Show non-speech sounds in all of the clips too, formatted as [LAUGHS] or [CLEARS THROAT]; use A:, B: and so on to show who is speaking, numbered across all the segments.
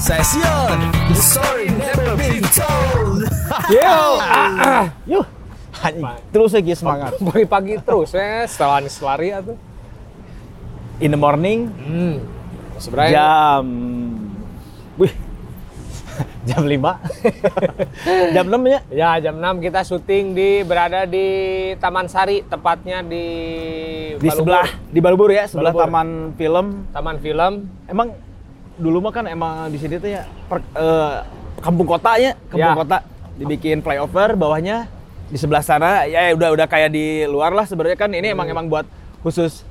A: Session The story never been told
B: Yo, ah, ah.
C: Yuh. Anjing, terus lagi semangat.
B: pagi-pagi terus ya, setelan selari atau.
C: In the morning
B: Hmm. Sebenarnya
C: jam Wih. jam 5. jam 6 ya.
B: ya jam 6 kita syuting di berada di Taman Sari, tepatnya di
C: Di
B: Balubur.
C: sebelah di Balubur ya, sebelah
B: Balubur.
C: taman film.
B: Taman Film.
C: Emang dulu mah kan emang di sini tuh ya per- eh, kampung kota ya, kampung
B: Ya.
C: kota dibikin flyover bawahnya di sebelah sana ya udah udah kayak di luar lah sebenarnya kan ini
B: Hmm.
C: emang emang buat khusus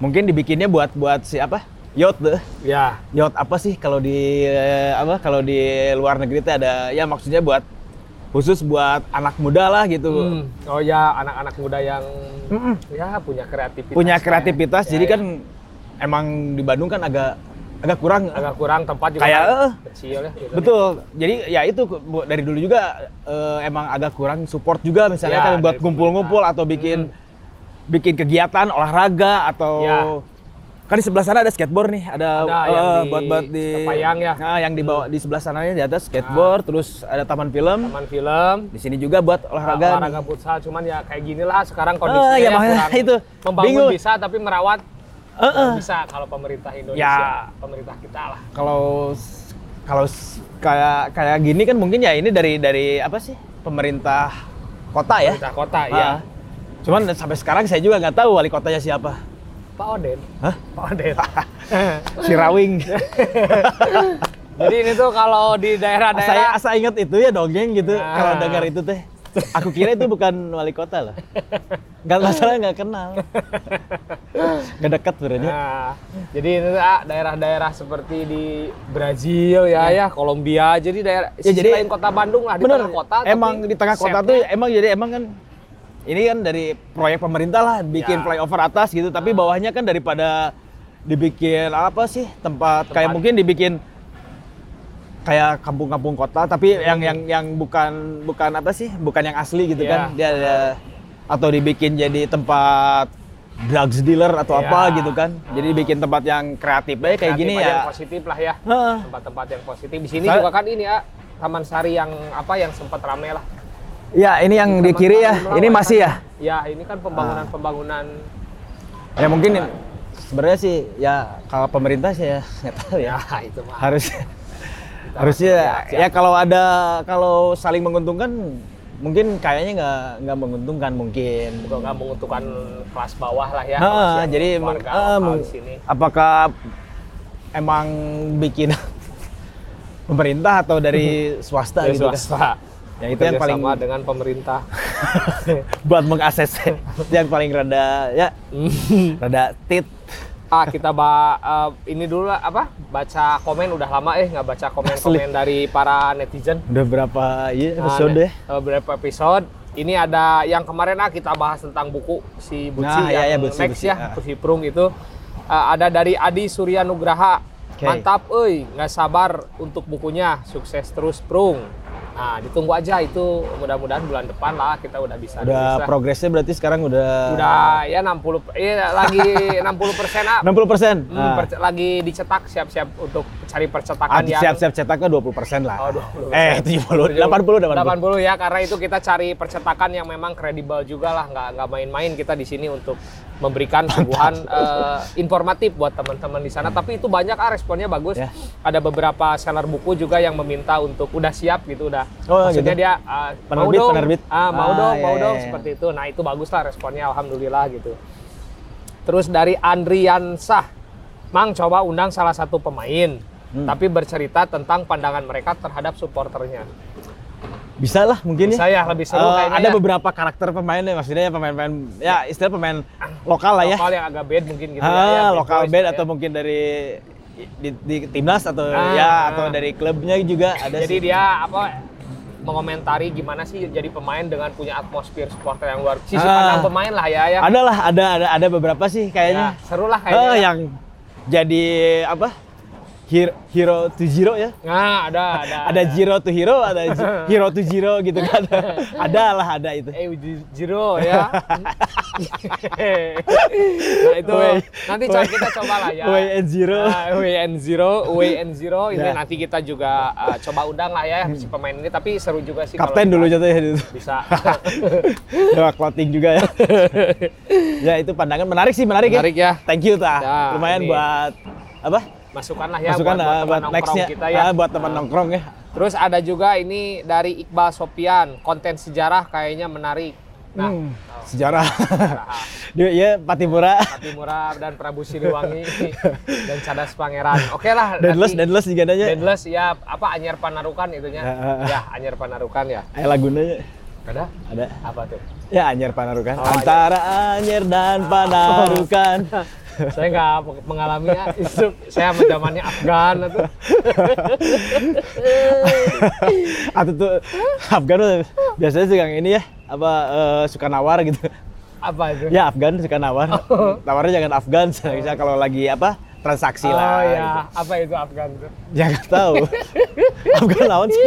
C: mungkin dibikinnya buat buat siapa? Yacht deh.
B: Ya,
C: yacht apa sih kalau di eh, apa kalau di luar negeri itu ada ya maksudnya buat khusus buat anak muda lah gitu
B: Hmm. Oh ya, anak-anak muda yang
C: Mm-mm.
B: ya punya kreativitas.
C: Hmm. punya
B: ya.
C: kreativitas
B: Ya,
C: jadi
B: ya.
C: kan emang di Bandung kan agak agak kurang
B: agak kurang tempat juga
C: Kayak,
B: kan
C: eh,
B: kecil ya. gitu.
C: betul jadi ya itu bu- dari dulu juga eh, emang agak kurang support juga misalnya
B: Ya,
C: kan buat
B: dari Hmm.
C: kumpul-kumpul atau bikin bikin kegiatan olahraga atau
B: Ya.
C: kan di sebelah sana ada skateboard nih ada,
B: Ada yang
C: eh,
B: di
C: buat buat di
B: Kepayang ya. Ah.
C: Nah, yang di bawah di sebelah sananya di atas skateboard terus ada taman film
B: Taman Film.
C: di sini juga buat olahraga, nih.
B: olahraga, futsal cuman ya kayak gini lah sekarang kondisinya
C: Ah, ya makanya
B: kurang
C: [LAUGHS] itu.
B: membangun
C: Bingung.
B: bisa tapi merawat
C: Eh, eh.
B: kurang bisa kalau pemerintah Indonesia
C: Ya.
B: pemerintah kita lah
C: kalau s- kalau s- kayak kayak gini kan mungkin ya ini dari dari apa sih pemerintah kota ya
B: pemerintah kota
C: Ah.
B: ya
C: cuman sampai sekarang saya juga nggak tahu wali kotanya siapa
B: Pak Oden
C: Hah?
B: Pak Oden
C: si
B: [LAUGHS]
C: Rawing
B: jadi ini tuh kalau
C: [LAUGHS]
B: di
C: Ah, saya
B: daerah-daerah
C: saya ingat itu ya dongeng gitu
B: Ah.
C: kalau dengar itu teh aku kira itu bukan wali kota loh nggak masalah nggak
B: [LAUGHS]
C: kenal nggak dekat sebenarnya
B: Nah, jadi ini tuh, ah, daerah-daerah seperti di Brazil ya ya Kolombia jadi daerah
C: Iya. Ya,
B: sisi
C: jadi-
B: lain kota Bandung lah di
C: Bener.
B: tengah kota tapi
C: Emang di tengah kota tuh emang jadi emang kan ini kan dari proyek pemerintah lah bikin
B: Ya. Ah.
C: flyover atas gitu, tapi bawahnya kan daripada dibikin apa sih tempat, kayak mungkin dibikin kayak kampung-kampung kota
B: Hmm.
C: tapi yang yang yang bukan bukan apa sih bukan yang asli gitu
B: Ya.
C: kan dia ada atau dibikin jadi tempat drugs dealer atau
B: Ya.
C: apa gitu kan jadi bikin tempat yang kreatif aja kayak gini
B: Kreatif aja Nah, yang
C: ya
B: positif lah ya
C: Heeh.
B: tempat-tempat yang positif di sini
C: Saya-
B: juga kan ini ya Taman Sari yang apa yang sempat rame lah
C: ya ini yang di
B: Taman
C: kiri
B: Sari
C: ya
B: Melawan
C: ini masih ya
B: kan. ya ini kan pembangunan-pembangunan
C: ya mungkin sebenarnya sih ya kalau pemerintah sih ya nggak tahu ya
B: ya [LAUGHS] itu mah
C: harus harusnya ya kalau ada kalau saling menguntungkan mungkin kayaknya nggak nggak menguntungkan mungkin
B: juga nggak menguntungkan kelas bawah lah ya
C: Heeh,
B: kalau sih
C: Ah, jadi emang
B: warga
C: eh,
B: lokal
C: mung-
B: di sini
C: apakah emang bikin [LAUGHS] pemerintah atau
B: [LAUGHS]
C: dari swasta
B: Dari
C: gitu kan?
B: swasta
C: ya [LAUGHS] itu yang paling
B: Kerjasama dengan pemerintah [LAUGHS]
C: buat mengakses yang paling rada ya rada tit
B: ah kita ba eh, ini dulu lah apa baca komen udah lama eh nggak baca komen komen dari para netizen
C: udah berapa ya
B: Nah,
C: episode
B: ne- eh, berapa episode ini ada yang kemarin ah kita bahas tentang buku si Buci
C: Nah, iya, iya,
B: yang
C: Buci,
B: next
C: Buci,
B: ya
C: ah.
B: Buci Prung itu Eh, ada dari Adi Surya Nugraha
C: Oke.
B: mantap euy nggak sabar untuk bukunya sukses terus Prung nah ditunggu aja itu mudah-mudahan bulan depan lah kita udah bisa
C: Udah
B: rilis lah.
C: progresnya berarti sekarang udah
B: udah ya 60 ya, lagi
C: [LAUGHS]
B: 60 persen ah
C: 60 persen. Ah,
B: Hmm, perce- lagi dicetak siap-siap untuk cari percetakan yang
C: siap-siap cetaknya 20 persen lah.
B: Oh, 20%.
C: Eh, 70, 80, 80.
B: 80 ya karena itu kita cari percetakan yang memang kredibel juga lah nggak nggak main-main kita di sini untuk memberikan sungguhan eh, informatif buat teman-teman di sana tapi itu banyak ah responnya bagus
C: Ya.
B: ada beberapa seller buku juga yang meminta untuk udah siap gitu udah
C: Oh,
B: maksudnya
C: gitu.
B: dia ah, mau
C: Penerbit,
B: dong
C: penerbit.
B: Ah,
C: Ah,
B: mau dong mau
C: iya,
B: dong
C: iya, iya.
B: seperti itu nah itu bagus lah responnya alhamdulillah gitu terus dari Andriansah Mang coba undang salah satu pemain
C: Hmm.
B: tapi bercerita tentang pandangan mereka terhadap supporternya
C: Bisa lah mungkin
B: Bisa ya, lebih seru
C: Eh,
B: kayaknya
C: Ada
B: ya.
C: beberapa karakter pemainnya, maksudnya ya pemain-pemain, ya istilah pemain lokal lah ya.
B: lokal yang agak bad mungkin gitu
C: Ah,
B: ya,
C: lokal
B: boys
C: band
B: gitu
C: atau
B: ya.
C: mungkin dari di, di timnas atau
B: Ah,
C: ya
B: ah.
C: atau dari klubnya juga ada
B: jadi
C: sih.
B: dia apa mengomentari gimana sih jadi pemain dengan punya atmosfer supporter yang luar sisi
C: Ah.
B: pandang pemain lah ya ya,
C: Ada Oh, lah, ada ada ada beberapa sih
B: ya
C: kayaknya.
B: seru lah
C: Eh,
B: kayaknya
C: yang jadi apa? hero, hero to zero ya
B: Nah, ada
C: [LAUGHS]
B: ada.
C: ada zero to hero ada
B: [LAUGHS]
C: zi- hero to zero gitu kan ada lah ada itu
B: Eh, Ji- Jiro ya. nah itu
C: Wei.
B: nanti coba
C: Wei.
B: kita coba lah ya.
C: Wei and Jiro.
B: Ah, Wei and Zero, Wei and Zero ini
C: Ya.
B: nanti kita juga ah, coba undang lah ya si pemain ini tapi seru juga sih
C: [LAUGHS]
B: kalau
C: kapten
B: kita
C: dulu jatuhnya
B: [LAUGHS]
C: itu
B: bisa.
C: [LAUGHS] ya clothing
B: [LAUGHS]
C: juga ya ya itu pandangan menarik sih menarik,
B: Menarik ya.
C: thank you ta
B: Ya,
C: lumayan
B: ini.
C: buat apa
B: Masukkan lah ya
C: masukan ah,
B: buat, buat, teman
C: buat,
B: nongkrong
C: nextnya
B: kita ya.
C: ah, buat teman nongkrong ya
B: Terus ada juga ini dari Iqbal Sopian, konten sejarah kayaknya menarik. Nah,
C: Hmm, sejarah
B: [LAUGHS]
C: dia ya Patimura
B: Pati Murab dan
C: [LAUGHS]
B: Prabu Siliwangi dan Cadas Pangeran. Oke lah.
C: Deadless,
B: nanti-
C: Deadless juga nanya.
B: Deadless ya apa Anyar Panarukan itunya.
C: Ya, ya, ya.
B: ya, Anyar Panarukan ya.
C: Eh lagunya
B: Ada
C: ada.
B: apa tuh?
C: Ya Anyer Panarukan.
B: Oh, Ah.
C: Antara Anyer dan Panarukan.
B: Saya nggak mengalami ya. Itu saya zamannya Afgan atau
C: Atau tuh Afgan tuh biasanya sih yang ini ya apa eh, suka nawar gitu.
B: apa itu?
C: Ya Afgan suka nawar. Nawarnya jangan Afgan, misalnya kalau lagi apa transaksi lah.
B: Oh. Oh ya,
C: gitu.
B: apa itu Afgan tuh?
C: Ya nggak tahu. Afgan lawan sih.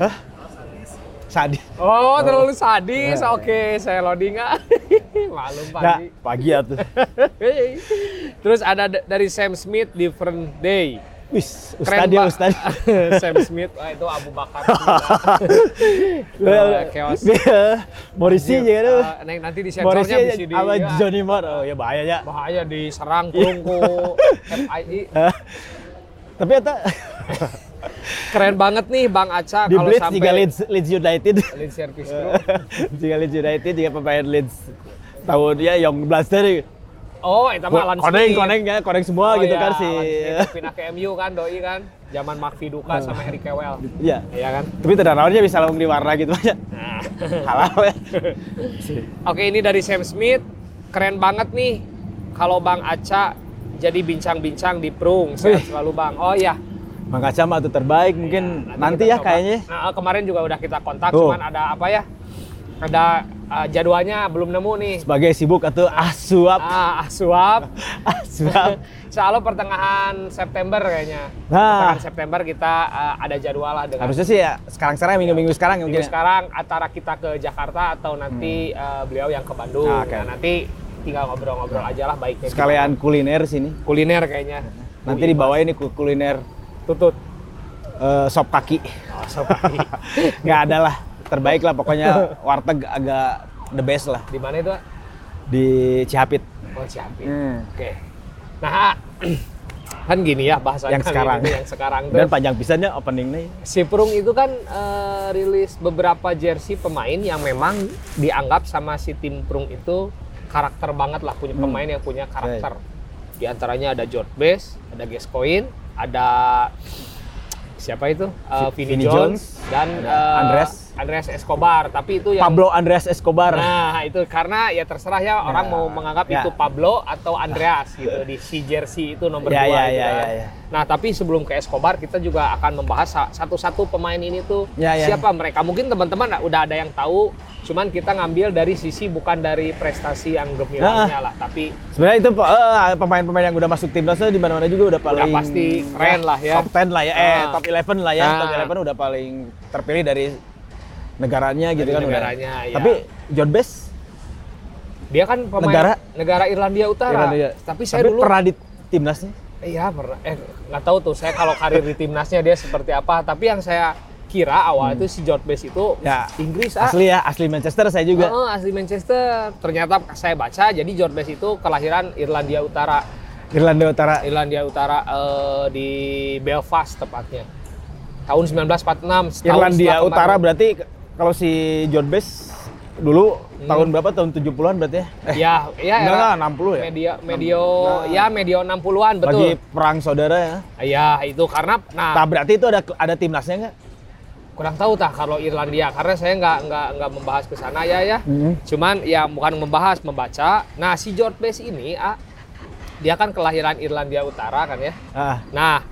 C: Hah? Sadis.
B: Oh, terlalu sadis.
C: Eh.
B: Oke, saya loading ah. [LAUGHS] Maklum
C: Ya,
B: pagi.
C: pagi ya tuh.
B: Hei. Terus ada d- dari Sam Smith Different Day.
C: Wis,
B: Keren
C: ustad ya ustad.
B: Pak. [LAUGHS] Sam Smith, wah itu Abu Bakar.
C: [LAUGHS] Well,
B: chaos.
C: Morrissey juga tuh.
B: Eh, neng nanti di
C: Morrissey
B: sensornya bisa di
C: sama
B: ya,
C: Johnny Marr. Oh ya bahaya ya.
B: bahaya diserang kerungku FII.
C: Hah? Tapi
B: [LAUGHS]
C: eta
B: Keren banget nih Bang Aca
C: di
B: kalau
C: Blitz
B: sampai
C: juga Leeds, Leeds United.
B: Leeds Service Group.
C: [LAUGHS] juga Leeds United juga pemain Leeds tahun ya Young Blaster.
B: Oh, itu mah Alan
C: Koneng,
B: Smith.
C: koneng ya, koneng semua
B: Oh
C: gitu
B: iya,
C: kan sih. [LAUGHS]
B: Alan Smith pindah ke MU kan doi kan. Zaman Mark Viduka
C: Hmm.
B: sama Harry Kewell.
C: Ya.
B: Iya kan?
C: Tapi tidak lawannya bisa langsung di warna gitu
B: Nah.
C: aja. Halal ya.
B: Oke, ini dari Sam Smith. Keren banget nih kalau Bang Aca jadi bincang-bincang di Prung.
C: Wih.
B: Sehat selalu Bang. Oh iya.
C: Maka sama tuh terbaik mungkin nanti ya
B: kita coba.
C: kayaknya.
B: Nah, eh, kemarin juga udah kita kontak,
C: Tuh.
B: cuman ada apa ya? Ada eh, jadwalnya belum nemu nih.
C: Sebagai sibuk atau asuap,
B: Ah, suap.
C: asuap.
B: Soalnya pertengahan September kayaknya.
C: Nah.
B: Pertengahan September kita eh, ada jadwal lah dengan
C: Harusnya sih ya sekarang sekarang minggu-minggu sekarang ya
B: minggu
C: mungkin. ya. Hmm.
B: sekarang antara kita ke Jakarta atau nanti eh, beliau yang ke Bandung.
C: Ah, oke. Nah.
B: Nah, nanti tinggal ngobrol-ngobrol aja lah baiknya.
C: Sekalian kuliner sini.
B: kuliner kayaknya.
C: Nanti dibawain nih ku- kuliner
B: tutut.
C: eh, sop kaki.
B: Oh, sop kaki.
C: Nggak ada lah. Terbaik lah pokoknya warteg agak the best lah
B: [LAUGHS] Di mana itu? Wak?
C: di Cihapit.
B: Oh, Ciampi.
C: Hmm.
B: Oke. Nah, [CLEARS THROAT] kan gini ya bahasanya.
C: Yang sekarang.
B: gini, yang sekarang tuh.
C: Dan panjang pisannya openingnya.
B: si Prung itu kan eh, rilis beberapa jersey pemain yang memang dianggap sama si tim Prung itu karakter banget lah punya
C: Hmm.
B: pemain yang punya
C: Iya,
B: karakter. Di antaranya ada George Best, ada Gascoigne, ada siapa itu? Eh,
C: Vinny
B: Vinny, Jones,
C: Jones,
B: dan
C: ada
B: eh,
C: Andres.
B: Andres Escobar. Tapi itu yang
C: Pablo Andreas Escobar.
B: Iya. Nah, itu karena ya terserah ya orang mau menganggap
C: Ya.
B: itu Pablo atau Andreas gitu di si jersey itu nomor
C: Ya,
B: 2
C: ya,
B: gitu
C: ya,
B: kan.
C: ya, ya.
B: Nah, tapi sebelum ke Escobar kita juga akan membahas sa- satu-satu pemain ini tuh
C: Ya, ya.
B: siapa mereka. Mungkin teman-teman udah ada yang tahu, cuman kita ngambil dari sisi bukan dari prestasi yang gemilannya
C: Ah.
B: lah, tapi
C: Sebenarnya itu eh, pemain-pemain yang udah masuk timnasnya di mana-mana juga udah paling
B: pasti keren lah ya.
C: Top 10 lah ya, eh
B: Ah.
C: top 11 lah ya.
B: Ah.
C: Top 11 udah paling terpilih dari negaranya gitu
B: Dari
C: kan. udah.
B: negaranya, ya.
C: Tapi John Best
B: dia kan pemain
C: Negara?
B: negara Irlandia Utara.
C: Irlandia.
B: Tapi saya dulu
C: ya. pernah di timnasnya.
B: Iya pernah. Eh nggak tahu tuh saya kalau karir di timnasnya dia seperti apa. Tapi yang saya kira awal itu si George Best itu
C: Hmm. Ya.
B: Inggris ah. Oh.
C: Asli ya, asli Manchester saya juga.
B: Heeh, asli Manchester. Ternyata saya baca jadi George Best itu kelahiran Irlandia Utara.
C: Irlanda Utara.
B: Irlandia Utara eh, di Belfast tepatnya. Tahun 1946. setahun
C: Irlandia
B: setelah
C: Utara
B: kemarin.
C: berarti k- kalau si John Bess dulu
B: Hmm.
C: tahun berapa? Tahun 70-an berarti ya? Eh,
B: Ya, ya
C: enggak
B: era
C: lah, 60 ya?
B: Medio medio ya medio 60-an
C: Bagi
B: betul.
C: perang saudara ya.
B: Iya, itu karena nah
C: Nah, berarti itu ada ada timnasnya nggak?
B: kurang tahu tah kalau Irlandia karena saya nggak nggak nggak membahas ke sana ya ya
C: Mhm.
B: cuman ya bukan membahas membaca nah si George Best ini ah, dia kan kelahiran Irlandia Utara kan ya
C: Ah,
B: nah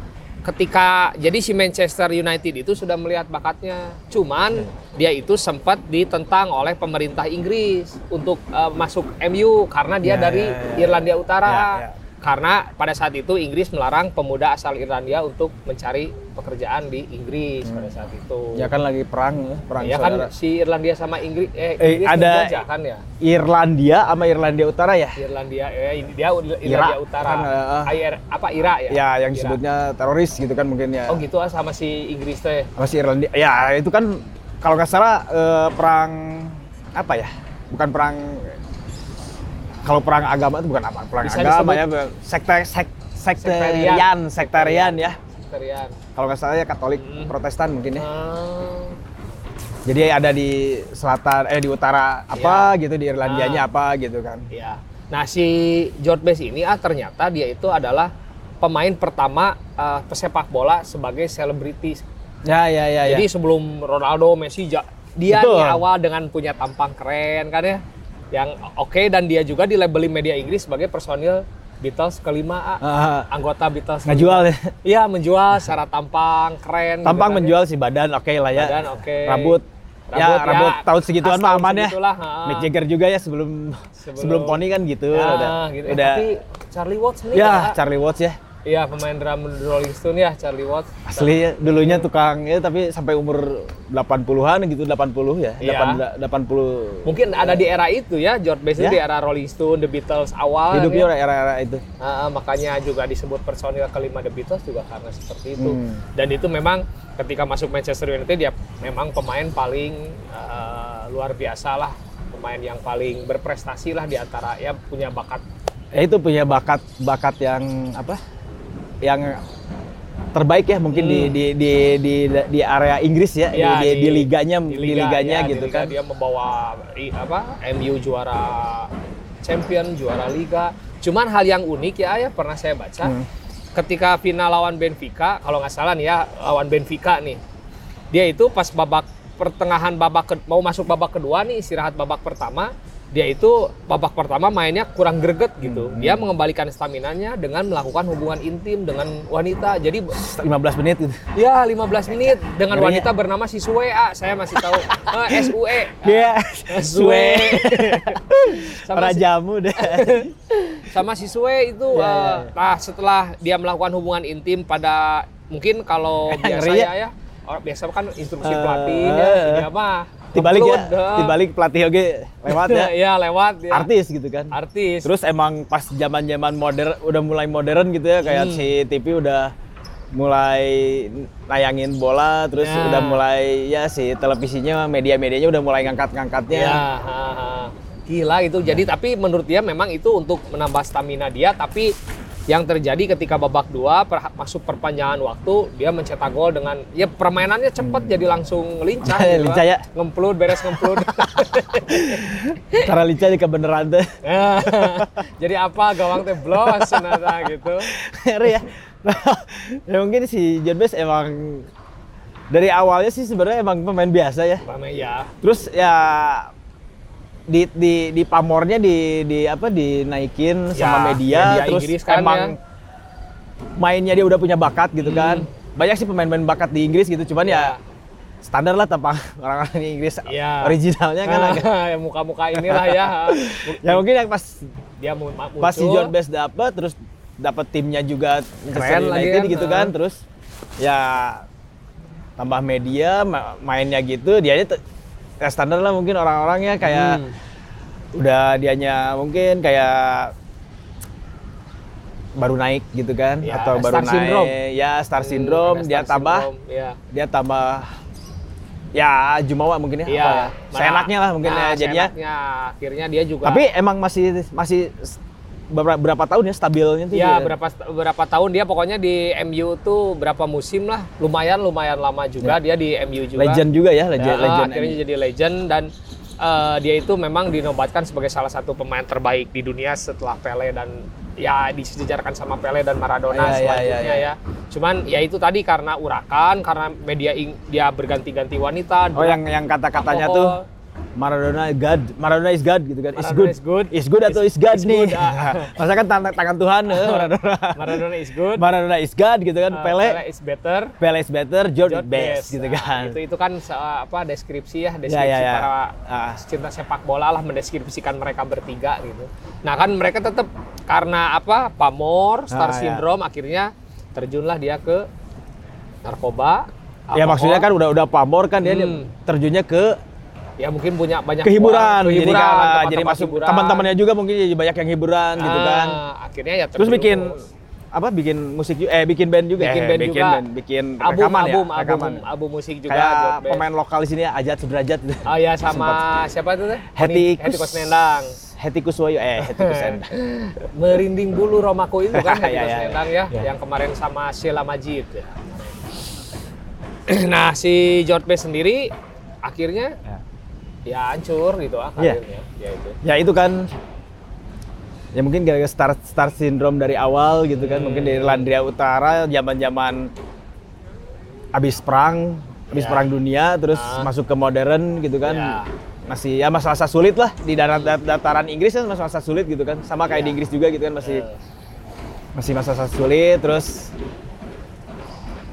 B: ketika jadi si Manchester United itu sudah melihat bakatnya cuman
C: Hmm.
B: dia itu sempat ditentang oleh pemerintah Inggris untuk eh, masuk MU karena dia
C: Ya,
B: dari
C: ya, ya.
B: Irlandia Utara
C: Ya, ya.
B: karena pada saat itu Inggris melarang pemuda asal Irlandia untuk mencari pekerjaan di Inggris pada saat itu.
C: Ya kan lagi perang ya, perang
B: Ya
C: saudara.
B: kan si Irlandia sama Inggris eh,
C: Eh,
B: Inggris
C: ada-
B: menjajah kan ya.
C: Irlandia sama Irlandia Utara ya?
B: Irlandia eh ini dia Irlandia Utara.
C: Kan, eh, eh.
B: IR apa IRA ya?
C: Ya, yang
B: IRA.
C: disebutnya teroris gitu kan mungkin ya.
B: Oh gitu ah sama si Inggris teh.
C: Apa sih Irlandia? Ya, itu kan kalau nggak salah eh, perang apa ya? Bukan perang kalau perang agama itu bukan apa? Perang
B: Bisa
C: agama
B: disebut-
C: ya, sekte sek-
B: Sektarian.
C: sektarian, sektarian ya.
B: Sekretarian.
C: Kalau nggak salah ya Katolik
B: Hmm.
C: Protestan mungkin ya.
B: Ah,
C: Jadi ada di selatan eh di utara apa gitu di Irlandianya apa gitu kan.
B: ya. Nah si George Best ini ah ternyata dia itu adalah pemain pertama eh, pesepak bola sebagai selebriti
C: Ya ya ya ya.
B: Jadi sebelum Ronaldo, Messi, ja- dia
C: Betul.
B: di awal dengan punya tampang keren kan ya, yang oke dan dia juga dilabeli media Inggris sebagai personil Beatles kelima A,
C: Ah,
B: anggota Beatles.
C: nggak jual ya.
B: Iya menjual secara tampang keren.
C: Tampang
B: gitu kan
C: menjual sih badan oke lah ya.
B: Badan oke.
C: Rambut. ya,
B: Rambut ya,
C: rambut tahun segituan
B: khas
C: mah
B: tahun
C: aman ya.
B: segitulah, ha.
C: Mick Jagger juga ya sebelum
B: Sebelum-
C: sebelum, Pony kan gitu
B: Ya,
C: udah.
B: gitu. Eh,
C: udah
B: Tapi Charlie Watts nih.
C: ya
B: Kak.
C: Charlie Watts ya.
B: Iya pemain drum Rolling Stone ya Charlie Watts.
C: Asli ya, dulunya tukang ya tapi sampai umur 80-an gitu 80 ya.
B: Iya.
C: 80 80
B: Mungkin ada di era itu ya George Best itu
C: Ya.
B: di era Rolling Stone, The Beatles awal.
C: hidupnya
B: ya.
C: orang era-era itu.
B: Ah, ah, makanya juga disebut personil kelima The Beatles juga karena seperti itu.
C: Hmm.
B: Dan itu memang ketika masuk Manchester United dia memang pemain paling eh, luar biasa lah, pemain yang paling berprestasi lah di antara ya punya bakat.
C: Ya itu punya bakat bakat yang apa? Yang terbaik ya mungkin di,
B: Hmm.
C: di di di di area Inggris ya,
B: Ya,
C: di, di, di liganya di,
B: liga,
C: liganya
B: ya, di
C: gitu
B: liga
C: kan.
B: Dia membawa i- apa? MU juara champion, juara liga. Cuman hal yang unik ya ya pernah saya baca
C: Hmm.
B: ketika final lawan Benfica, kalau nggak salah nih ya lawan Benfica nih. Dia itu pas babak pertengahan babak ke- mau masuk babak kedua nih istirahat babak pertama, dia itu babak pertama mainnya kurang greget gitu.
C: Hmm.
B: Dia mengembalikan staminanya dengan melakukan hubungan intim dengan wanita. Jadi
C: 15 menit gitu.
B: Ya, 15 menit dengan
C: Ngerinya.
B: wanita bernama si Sue A. Saya masih tahu.
C: [LAUGHS]
B: Eh, SUE.
C: Dia
B: [LAUGHS] Sue. [LAUGHS] sama, si,
C: rajamu deh. [LAUGHS]
B: sama si Sue itu
C: Ya,
B: eh,
C: ya,
B: nah setelah dia melakukan hubungan intim pada mungkin
C: [LAUGHS]
B: kalau biasanya
C: Ngerinya.
B: ya orang biasa kan instruksi
C: Eh,
B: pelatih ya,
C: eh.
B: dia mah
C: Dibalik ya,
B: upload, eh.
C: dibalik pelatih oke lewat ya.
B: [LAUGHS] Iya, lewat ya.
C: Artis gitu kan.
B: Artis.
C: Terus emang pas zaman-zaman modern udah mulai modern gitu ya kayak
B: Hmm.
C: si TV udah mulai nayangin bola terus
B: Ya.
C: udah mulai ya si televisinya media-medianya udah mulai
B: Ya,
C: ngangkat-ngangkatnya.
B: ha, ha. gila itu.
C: Ya.
B: Jadi tapi menurut dia memang itu untuk menambah stamina dia. Tapi yang terjadi ketika babak dua per- masuk perpanjangan waktu dia mencetak gol dengan ya permainannya cepat jadi langsung
C: [LAUGHS]
B: lincah,
C: Hmm.
B: gitu
C: Lincah ya.
B: ngemplud beres
C: [LAUGHS]
B: ngemplud.
C: Cara lica di kebenaran tuh. [LAUGHS]
B: Ya. jadi apa gawang teh blos cenah, gitu.
C: Ngeri ya. [LAUGHS] ya mungkin si John Bass emang dari awalnya sih sebenarnya emang pemain biasa ya.
B: Pame ya.
C: Terus ya di di di pamornya di di apa dinaikin
B: Ya,
C: sama media,
B: media
C: terus
B: Inggris kan
C: emang
B: ya.
C: mainnya dia udah punya bakat gitu kan.
B: Hmm.
C: Banyak sih pemain-pemain bakat di Inggris gitu, cuman ya standar lah tampang [LAUGHS] orang-orang di Inggris
B: Ya.
C: originalnya kan agak.
B: [LAUGHS] Ya, muka-muka inilah
C: [LAUGHS]
B: ya.
C: Ya mungkin yang pas
B: Dia mu- muncul.
C: pas si John Best dapat terus dapat timnya juga
B: Keren
C: Manchester
B: lagi
C: United
B: kan,
C: gitu
B: ah.
C: kan, terus ya tambah media ma- mainnya gitu, dia ya standar lah mungkin orang-orangnya kayak
B: Hmm.
C: udah dianya mungkin kayak baru naik gitu kan
B: Ya,
C: atau baru
B: star
C: naik
B: syndrome. Iya,
C: ya star syndrome
B: Ada
C: dia
B: Hmm, star
C: tambah
B: syndrome, ya.
C: dia tambah ya jumawa mungkin ya,
B: Iya, nah,
C: apa ya? seenaknya lah mungkin ya jadinya
B: seenaknya. akhirnya dia juga.
C: tapi emang masih masih s- beberapa, berapa tahun ya stabilnya tuh dia?
B: ya berapa berapa tahun dia pokoknya di MU tuh berapa musim lah, lumayan lumayan lama juga dia di MU juga.
C: Ya. legend juga ya
B: Ya,
C: legend legend
B: akhirnya jadi legend dan eh, dia itu memang dinobatkan sebagai salah satu pemain terbaik di dunia setelah Pele dan ya disejarkan sama Pele dan
C: Ya, ya,
B: Maradona selanjutnya
C: ya,
B: ya. Cuman ya itu tadi karena urakan, karena media ing- dia berganti-ganti wanita.
C: oh yang yang kata-katanya tuh Maradona God, Maradona is God gitu kan. Is
B: Maradona
C: good.
B: is good.
C: Is good atau is God
B: is
C: nih.
B: good,
C: [LAUGHS]
B: ah.
C: Masa kan tangan, tangan Tuhan eh, Maradona.
B: [LAUGHS] Maradona is good.
C: Maradona is God gitu kan.
B: uh,
C: Pele,
B: is better.
C: Pele is better, Jordan
B: Jordan
C: best, gitu
B: Nah,
C: kan.
B: itu itu kan se- apa deskripsi ya deskripsi
C: ya, ya.
B: para
C: Ah.
B: cinta sepak bola lah mendeskripsikan mereka bertiga gitu. Nah kan mereka tetap karena apa pamor
C: Ah,
B: star
C: ya.
B: syndrome akhirnya terjunlah dia ke narkoba.
C: Ya
B: alkohol.
C: maksudnya kan udah udah pamor kan dia
B: Hmm.
C: terjunnya ke
B: ya mungkin punya banyak
C: kehiburan,
B: uang,
C: jadi
B: kehiburan,
C: kan,
B: tempat-tempat
C: jadi masuk
B: hiburan.
C: teman-temannya juga mungkin jadi banyak yang hiburan gitu
B: Ah,
C: kan.
B: Akhirnya ya
C: Terus
B: terjun.
C: bikin apa bikin musik juga eh bikin band juga
B: Bikin
C: eh,
B: band
C: bikin
B: juga.
C: band, bikin
B: album
C: rekaman
B: album,
C: ya
B: album,
C: rekaman
B: album musik juga
C: kayak
B: Jod Band.
C: pemain lokal di sini ya Ajat Sudrajat gitu.
B: Oh ya sama siapa itu teh?
C: Heti
B: Heti Kusnendang.
C: Heti Kuswoyo eh Heti Kusendang.
B: [LAUGHS] Merinding bulu Romaku itu kan
C: [LAUGHS]
B: Heti
C: Ya, ya,
B: Kusnendang ya,
C: ya. Ya.
B: yang kemarin sama Sheila Majid. ya. [CLEARS THROAT] Nah si George Best sendiri akhirnya
C: Ya.
B: ya hancur gitu ah
C: Iya.
B: karirnya. Ya itu.
C: ya itu kan ya mungkin gara-gara star star syndrome dari awal gitu kan mungkin
B: Hmm.
C: dari Irlandia Utara zaman-zaman habis perang habis
B: Ya.
C: perang dunia terus
B: Ah.
C: masuk ke modern gitu kan
B: Ya.
C: masih ya masa-masa sulit lah di darat dat- dataran Inggris kan masa-masa sulit gitu kan sama kayak
B: Ya.
C: di Inggris juga gitu kan masih
B: Eh,
C: masih masa-masa sulit terus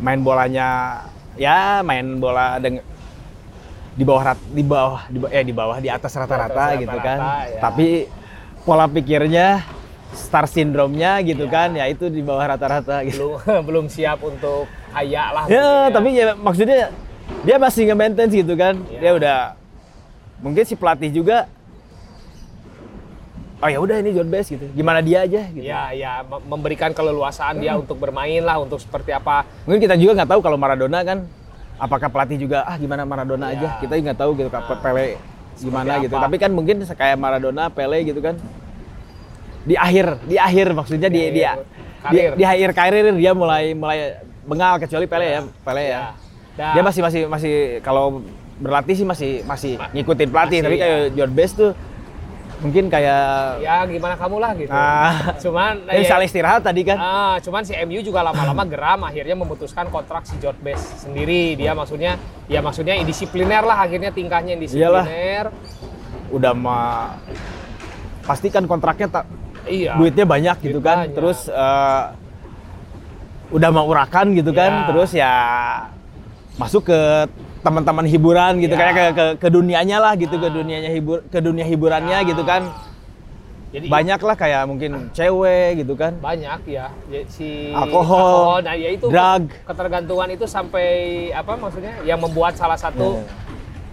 C: main bolanya ya main bola dengan di bawah rat- di bawah di ba- eh di bawah di atas rata-rata
B: Di atas
C: gitu kan
B: rata-rata, ya.
C: tapi pola pikirnya star syndrome-nya gitu kan ya itu di bawah rata-rata gitu
B: belum [LAUGHS] belum siap untuk kaya lah.
C: ya
B: mungkin
C: tapi ya maksudnya dia masih nge-maintain gitu kan
B: Ya.
C: dia udah mungkin si pelatih juga oh ya udah ini John Best gitu gimana dia aja gitu
B: Ya, ya me- memberikan keleluasaan
C: Hmm.
B: dia untuk bermain lah, untuk seperti apa
C: Mungkin kita juga nggak tahu kalau Maradona kan apakah pelatih juga ah gimana Maradona aja
B: Iya.
C: kita nggak tahu gitu kapan Pele gimana
B: Seperti
C: gitu.
B: apa.
C: Tapi kan mungkin kayak Maradona, Pele gitu kan di akhir di akhir maksudnya di
B: Di
C: dia
B: akhir
C: di,
B: Ya, karir.
C: di akhir karir dia mulai mulai bengal kecuali Pele ya Pele ya.
B: Nah,
C: Dia masih masih masih kalau berlatih sih masih masih
B: Ma-
C: ngikutin pelatih
B: masih,
C: tapi kayak John Best tuh mungkin kayak
B: ya gimana kamu lah gitu.
C: Ah.
B: Cuman
C: dia salah istirahat tadi kan.
B: Ya, ah, cuman si MU juga lama-lama geram akhirnya memutuskan kontrak si George Best sendiri. Dia
C: Hmm.
B: maksudnya ya maksudnya indisipliner lah akhirnya tingkahnya indisipliner.
C: Udah mah pastikan kontraknya tak
B: Iya.
C: duitnya banyak gitu
B: Duit
C: kan
B: banyak.
C: terus eh, udah mau urakan gitu kan
B: Ya.
C: terus ya masuk ke teman-teman hiburan gitu
B: Ya.
C: kayak ke, ke ke dunianya lah gitu ke
B: Ah.
C: dunianya hibur ke dunia hiburannya
B: Ya.
C: gitu kan
B: Jadi
C: banyak lah kayak mungkin cewek gitu kan
B: banyak ya Ya, si
C: Alkohol,
B: nah ya itu
C: drug.
B: ketergantungan itu sampai apa maksudnya yang membuat salah satu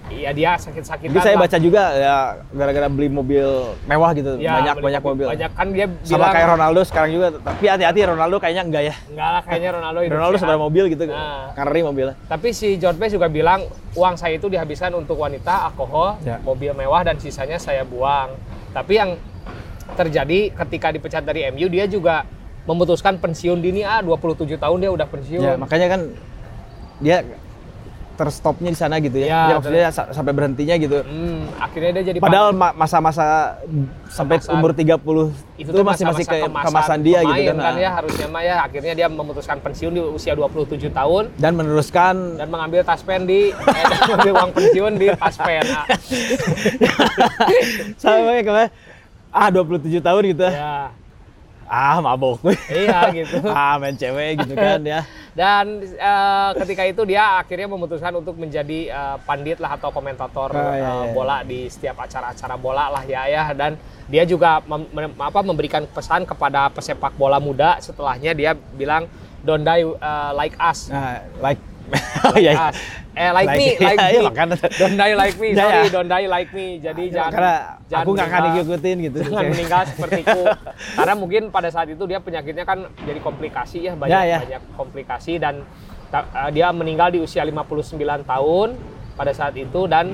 B: ya, dia sakit-sakitan
C: jadi saya
B: lah.
C: baca juga ya gara-gara beli mobil mewah gitu
B: Ya,
C: banyak
B: beli
C: banyak mobil
B: Banyak kan dia
C: sama
B: bilang,
C: kayak Ronaldo sekarang juga tapi hati-hati Ronaldo kayaknya enggak ya
B: Enggak lah kayaknya Ronaldo hidup
C: Ronaldo
B: sehat."
C: sebenarnya mobil gitu
B: Nah.
C: ngeri mobilnya
B: Tapi si George Best juga bilang uang saya itu dihabiskan untuk wanita, alkohol,
C: Ya.
B: mobil mewah dan sisanya saya buang. Tapi yang terjadi ketika dipecat dari MU dia juga memutuskan pensiun dini ah 27 tahun dia udah pensiun.
C: Ya, makanya kan dia terstopnya di sana gitu ya.
B: Ya,
C: Ya, maksudnya sa- sampai berhentinya gitu.
B: Hmm, akhirnya dia jadi
C: Padahal ma- masa-masa sampai
B: Kemasan.
C: umur 30 itu,
B: tuh
C: masih masih
B: masa-masa
C: kayak kemasan dia gitu
B: pemain
C: kan. Nah,
B: ya harusnya mah ya akhirnya dia memutuskan pensiun di usia 27 tahun
C: Dan meneruskan
B: dan mengambil taspen di eh, [LAUGHS] dan mengambil uang pensiun di taspen. Ah,
C: sampai kemarin ah 27 tahun gitu.
B: ya.
C: Ah, mabok. [LAUGHS]
B: Iya gitu.
C: ah, main cewek gitu kan ya.
B: Dan eh, ketika itu dia akhirnya memutuskan untuk menjadi eh, pandit lah atau komentator
C: Ah, iya,
B: eh,
C: iya.
B: bola di setiap acara-acara bola lah ya ya dan dia juga mem- mem- apa memberikan pesan kepada pesepak bola muda setelahnya dia bilang don't die eh, like us.
C: Nah, like [LAUGHS] Oh iya. iya.
B: Us. Eh like,
C: Like-
B: me, like
C: [LAUGHS] iya, iya,
B: me.
C: makanya.
B: Don't die like me.
C: Iya,
B: Sorry,
C: iya.
B: don't die like me. Jadi jangan
C: Karena
B: jangan
C: aku nggak akan
B: meninggal-
C: ngikutin gitu.
B: Jangan
C: [LAUGHS]
B: meninggal sepertiku. Karena mungkin pada saat itu dia penyakitnya kan jadi komplikasi ya banyak
C: Ya, ya.
B: banyak komplikasi dan ta- eh, dia meninggal di usia 59 tahun pada saat itu dan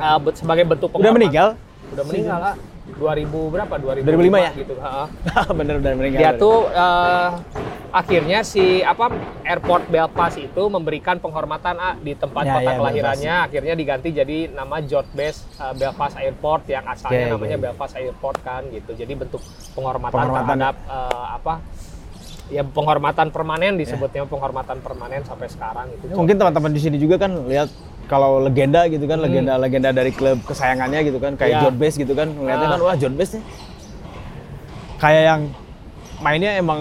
B: eh, be- sebagai bentuk
C: Udah
B: penghormatan-
C: meninggal? [LAUGHS]
B: Udah meninggal lah. 2000 berapa?
C: 2005 ya?
B: gitu. heeh.
C: Bener Iya, bener meninggal.
B: Dia tuh eh, akhirnya si apa airport Belfast itu memberikan penghormatan ah, di tempat
C: Ya,
B: kota
C: ya,
B: kelahirannya akhirnya diganti jadi nama George Best eh, Belfast Airport yang asalnya
C: Ya, ya,
B: namanya
C: ya.
B: Belfast Airport kan gitu. Jadi bentuk penghormatan,
C: Penghormatan.
B: terhadap eh, apa ya
C: Ya.
B: penghormatan permanen disebutnya penghormatan permanen sampai sekarang itu.
C: Mungkin teman-teman di sini juga kan lihat kalau legenda gitu kan legenda legenda dari klub kesayangannya gitu kan kayak
B: Hmm. Iya.
C: John Bass gitu kan ngeliatnya
B: Ah.
C: kan wah John Bass nih kayak yang mainnya emang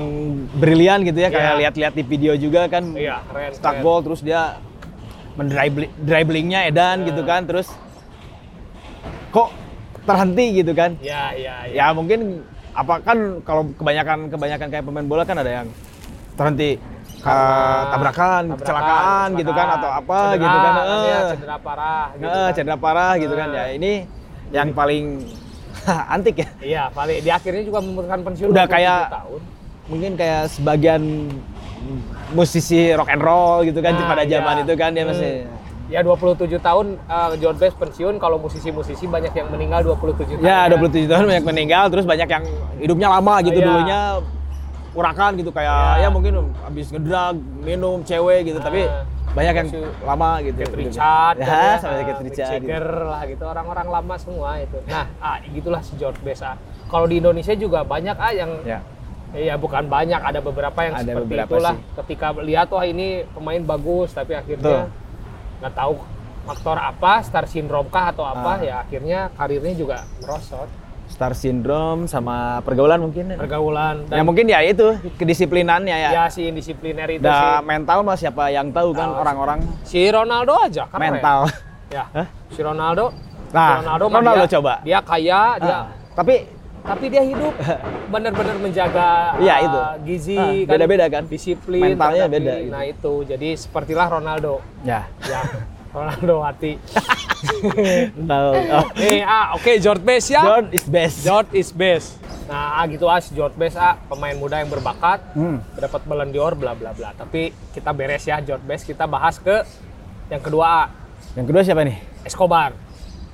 C: brilian gitu ya kayak
B: Iya.
C: lihat-lihat di video juga kan
B: Iya, keren,
C: stuck
B: keren.
C: ball terus dia mendribli- driblingnya edan gitu
B: Iya.
C: kan terus kok terhenti gitu kan
B: ya ya
C: ya
B: ya
C: mungkin apa kan kalau kebanyakan kebanyakan kayak pemain bola kan ada yang terhenti eh, tabrakan,
B: Ah, Tabrakan,
C: kecelakaan gitu kan atau apa
B: cedera,
C: gitu kan
B: ya,
C: Eh,
B: cedera parah gitu
C: eh,
B: kan.
C: cedera parah gitu kan ya
B: Eh.
C: ini yang paling [LAUGHS] antik ya
B: iya paling di akhirnya juga memerlukan pensiun
C: Udah
B: 27
C: kayak-
B: tahun.
C: mungkin kayak sebagian musisi rock and roll gitu kan
B: Nah,
C: pada zaman
B: iya.
C: itu kan dia
B: Hmm.
C: masih
B: Ya 27 tahun eh, John Bass pensiun kalau musisi-musisi banyak yang meninggal 27 tahun. kan?
C: ya 27 tahun banyak meninggal terus banyak yang hidupnya lama gitu
B: Iya.
C: dulunya urakan gitu kayak ya
B: Iya.
C: mungkin habis ngedrag minum cewek gitu tapi
B: Ah.
C: banyak yang
B: Terus
C: lama gitu
B: Keith
C: hidupnya.
B: Richard,
C: ya,
B: kan
C: sama
B: Ah,
C: Keith
B: Mick
C: Richard gitu.
B: Jagger lah gitu orang-orang lama semua itu. Nah, ah gitulah si George Best. ah. Kalau di Indonesia juga banyak ah yang
C: ya
B: Iya, bukan banyak. Ada beberapa yang
C: Ada
B: seperti
C: beberapa
B: itulah.
C: sih.
B: Ketika lihat wah ini pemain bagus, tapi
C: Betul.
B: akhirnya nggak tahu faktor apa, star syndrome kah atau apa,
C: Ah.
B: ya akhirnya karirnya juga merosot.
C: star syndrome sama pergaulan mungkin
B: Pergaulan
C: ya
B: dan
C: mungkin ya itu kedisiplinannya ya,
B: ya si indisipliner itu
C: Udah
B: sih.
C: mental mah siapa yang tahu kan
B: Tahu.
C: orang-orang
B: Si Ronaldo aja kan
C: mental [LAUGHS]
B: Ya.
C: Hah?
B: Si Ronaldo.
C: Nah,
B: si Ronaldo, mah
C: Ronaldo
B: dia,
C: coba.
B: Dia kaya, dia
C: Ah, tapi
B: tapi dia hidup benar-benar menjaga
C: Iya,
B: ah,
C: itu.
B: gizi
C: Ah,
B: kan.
C: beda-beda kan?
B: disiplin
C: Mentalnya
B: tetapi-
C: beda, gitu.
B: nah itu jadi sepertilah Ronaldo
C: [LAUGHS] ya [LAUGHS]
B: ya Ronaldo hati
C: mental oh.
B: nih ah oke George Best ya
C: John is best
B: George is best nah ah, gitu ah si George Best ah pemain muda yang berbakat
C: Hmm.
B: dapat Ballon d'Or bla bla bla tapi kita beres ya George Best kita bahas ke yang kedua ah,
C: yang kedua siapa nih
B: Escobar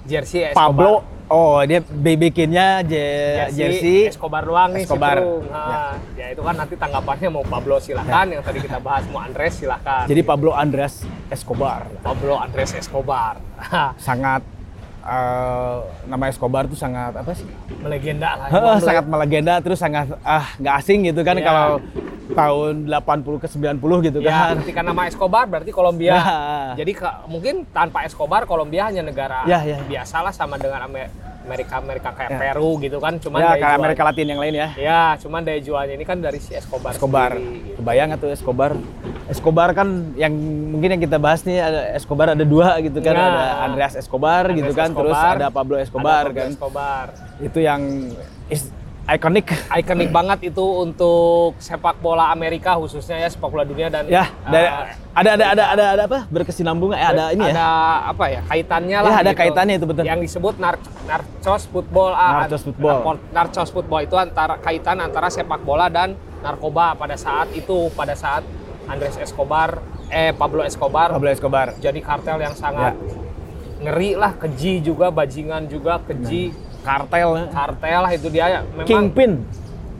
B: jersey Escobar
C: Pablo oh dia bi- bikinnya je- jersey
B: Escobar doang nih si
C: Escobar.
B: Trung. Nah, ya. itu kan nanti tanggapannya mau Pablo silahkan yang tadi kita bahas mau Andres silahkan
C: Ya. jadi Pablo Andres Escobar
B: Pablo Andres Escobar [LAUGHS]
C: sangat eh, nama Escobar tuh sangat apa sih
B: melegenda lah
C: Heeh,
B: Emang
C: sangat melegenda terus sangat ah nggak asing gitu kan
B: ya. Iya.
C: kalau tahun 80 ke 90 gitu
B: Ya,
C: kan.
B: ketika nama Escobar berarti Kolombia.
C: Nah.
B: Jadi ke- mungkin tanpa Escobar Kolombia hanya negara
C: Ya, ya.
B: biasa lah sama dengan Amer- Amerika Amerika kayak
C: Ya.
B: Peru gitu kan. Cuman
C: [LAUGHS] Ya,
B: daya
C: kalau
B: jual-
C: Amerika Latin yang lain ya.
B: Ya, cuman daya jualnya ini kan dari si Escobar.
C: Escobar.
B: sendiri.
C: Kebayang atau Escobar? Escobar kan yang mungkin yang kita bahas nih ada Escobar ada dua gitu kan,
B: Nah.
C: ada Andreas Escobar
B: Andres
C: gitu kan, terus
B: Escobar,
C: ada Pablo Escobar
B: Ada Pablo
C: kan.
B: Escobar.
C: Itu yang is ikonik.
B: Ikonik banget itu untuk sepak bola Amerika khususnya ya sepak bola dunia dan
C: ya, dari-
B: eh,
C: ada ada ada ada ada apa? Berkesinambungan eh, ada ini ya.
B: ada apa ya kaitannya
C: Ya,
B: lah
C: ada kaitannya itu, betul.
B: yang disebut nar narcos football ah,
C: Narcos football.
B: narko- narcos football itu antara kaitan antara sepak bola dan narkoba pada saat itu pada saat Andres Escobar eh Pablo Escobar
C: Pablo Escobar.
B: jadi kartel yang sangat
C: Ya.
B: ngeri lah keji juga bajingan juga keji
C: Kartel.
B: kartel lah itu dia ya. memang
C: Nah. Kingpin.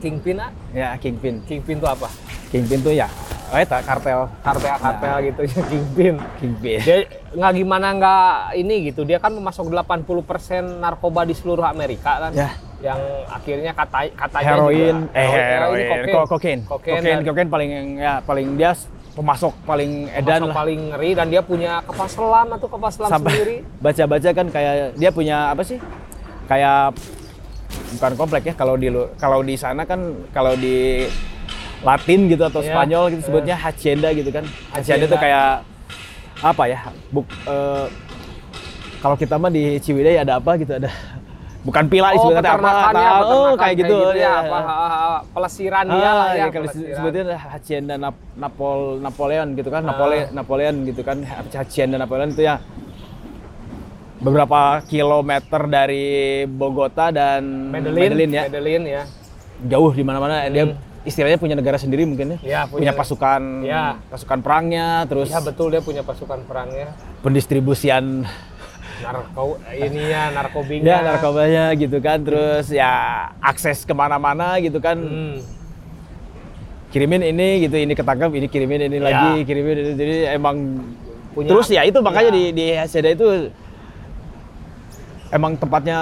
B: kingpin ah.
C: Ya, Kingpin.
B: kingpin itu apa
C: Kingpin tuh ya, oh itu kartel,
B: kartel
C: Nah.
B: kartel gitu [LAUGHS] ya kingpin
C: Kingpin.
B: dia nggak gimana nggak ini gitu dia kan memasok 80% narkoba di seluruh Amerika kan
C: Ya.
B: yang akhirnya kata katanya
C: heroin,
B: juga,
C: eh
B: heroin,
C: heroin, ko- kokain,
B: kokain,
C: kokain,
B: dan
C: kokain paling ya paling dia s- pemasok paling
B: edan
C: edan lah.
B: paling ngeri dan dia punya kapal selam atau kapal selam
C: [LAUGHS]
B: sendiri
C: Sampai baca-baca kan kayak dia punya apa sih? Kayak bukan komplek ya kalau di lu- kalau di sana kan kalau di Latin gitu atau
B: Iya,
C: Spanyol
B: iya.
C: gitu sebutnya hacienda gitu kan.
B: Hacienda.
C: Hacienda tuh kayak apa ya? Buk, eh, kalau kita mah di Ciwidey ada apa gitu ada bukan pila
B: oh
C: istilahnya apa
B: peternakannya
C: nah, oh,
B: peternakan,
C: kayak gitu,
B: ya,
C: ya.
B: apa, ha, ha, ha, pelesiran dia
C: Ah,
B: lah ya,
C: ya, kalau
B: pelesiran.
C: sebetulnya Hacienda Nap- Napol Napoleon gitu kan,
B: Ah.
C: Napole- Napoleon gitu kan, Hacienda Napoleon itu ya beberapa kilometer dari Bogota dan
B: Medellin,
C: ya,
B: Medellin ya
C: jauh di mana-mana. Dia istilahnya punya negara sendiri mungkin ya,
B: Ya,
C: punya,
B: punya-
C: pasukan,
B: Ya.
C: pasukan perangnya, terus
B: ya betul dia punya pasukan perangnya
C: pendistribusian
B: narko ini ya narkobinya
C: ya narkobanya gitu kan, terus ya akses kemana-mana gitu kan.
B: Hmm.
C: kirimin ini gitu ini ketangkap ini kirimin ini
B: Ya.
C: lagi kirimin ini jadi emang
B: Punya-
C: terus ya itu makanya
B: ya.
C: di di Haseda itu emang tempatnya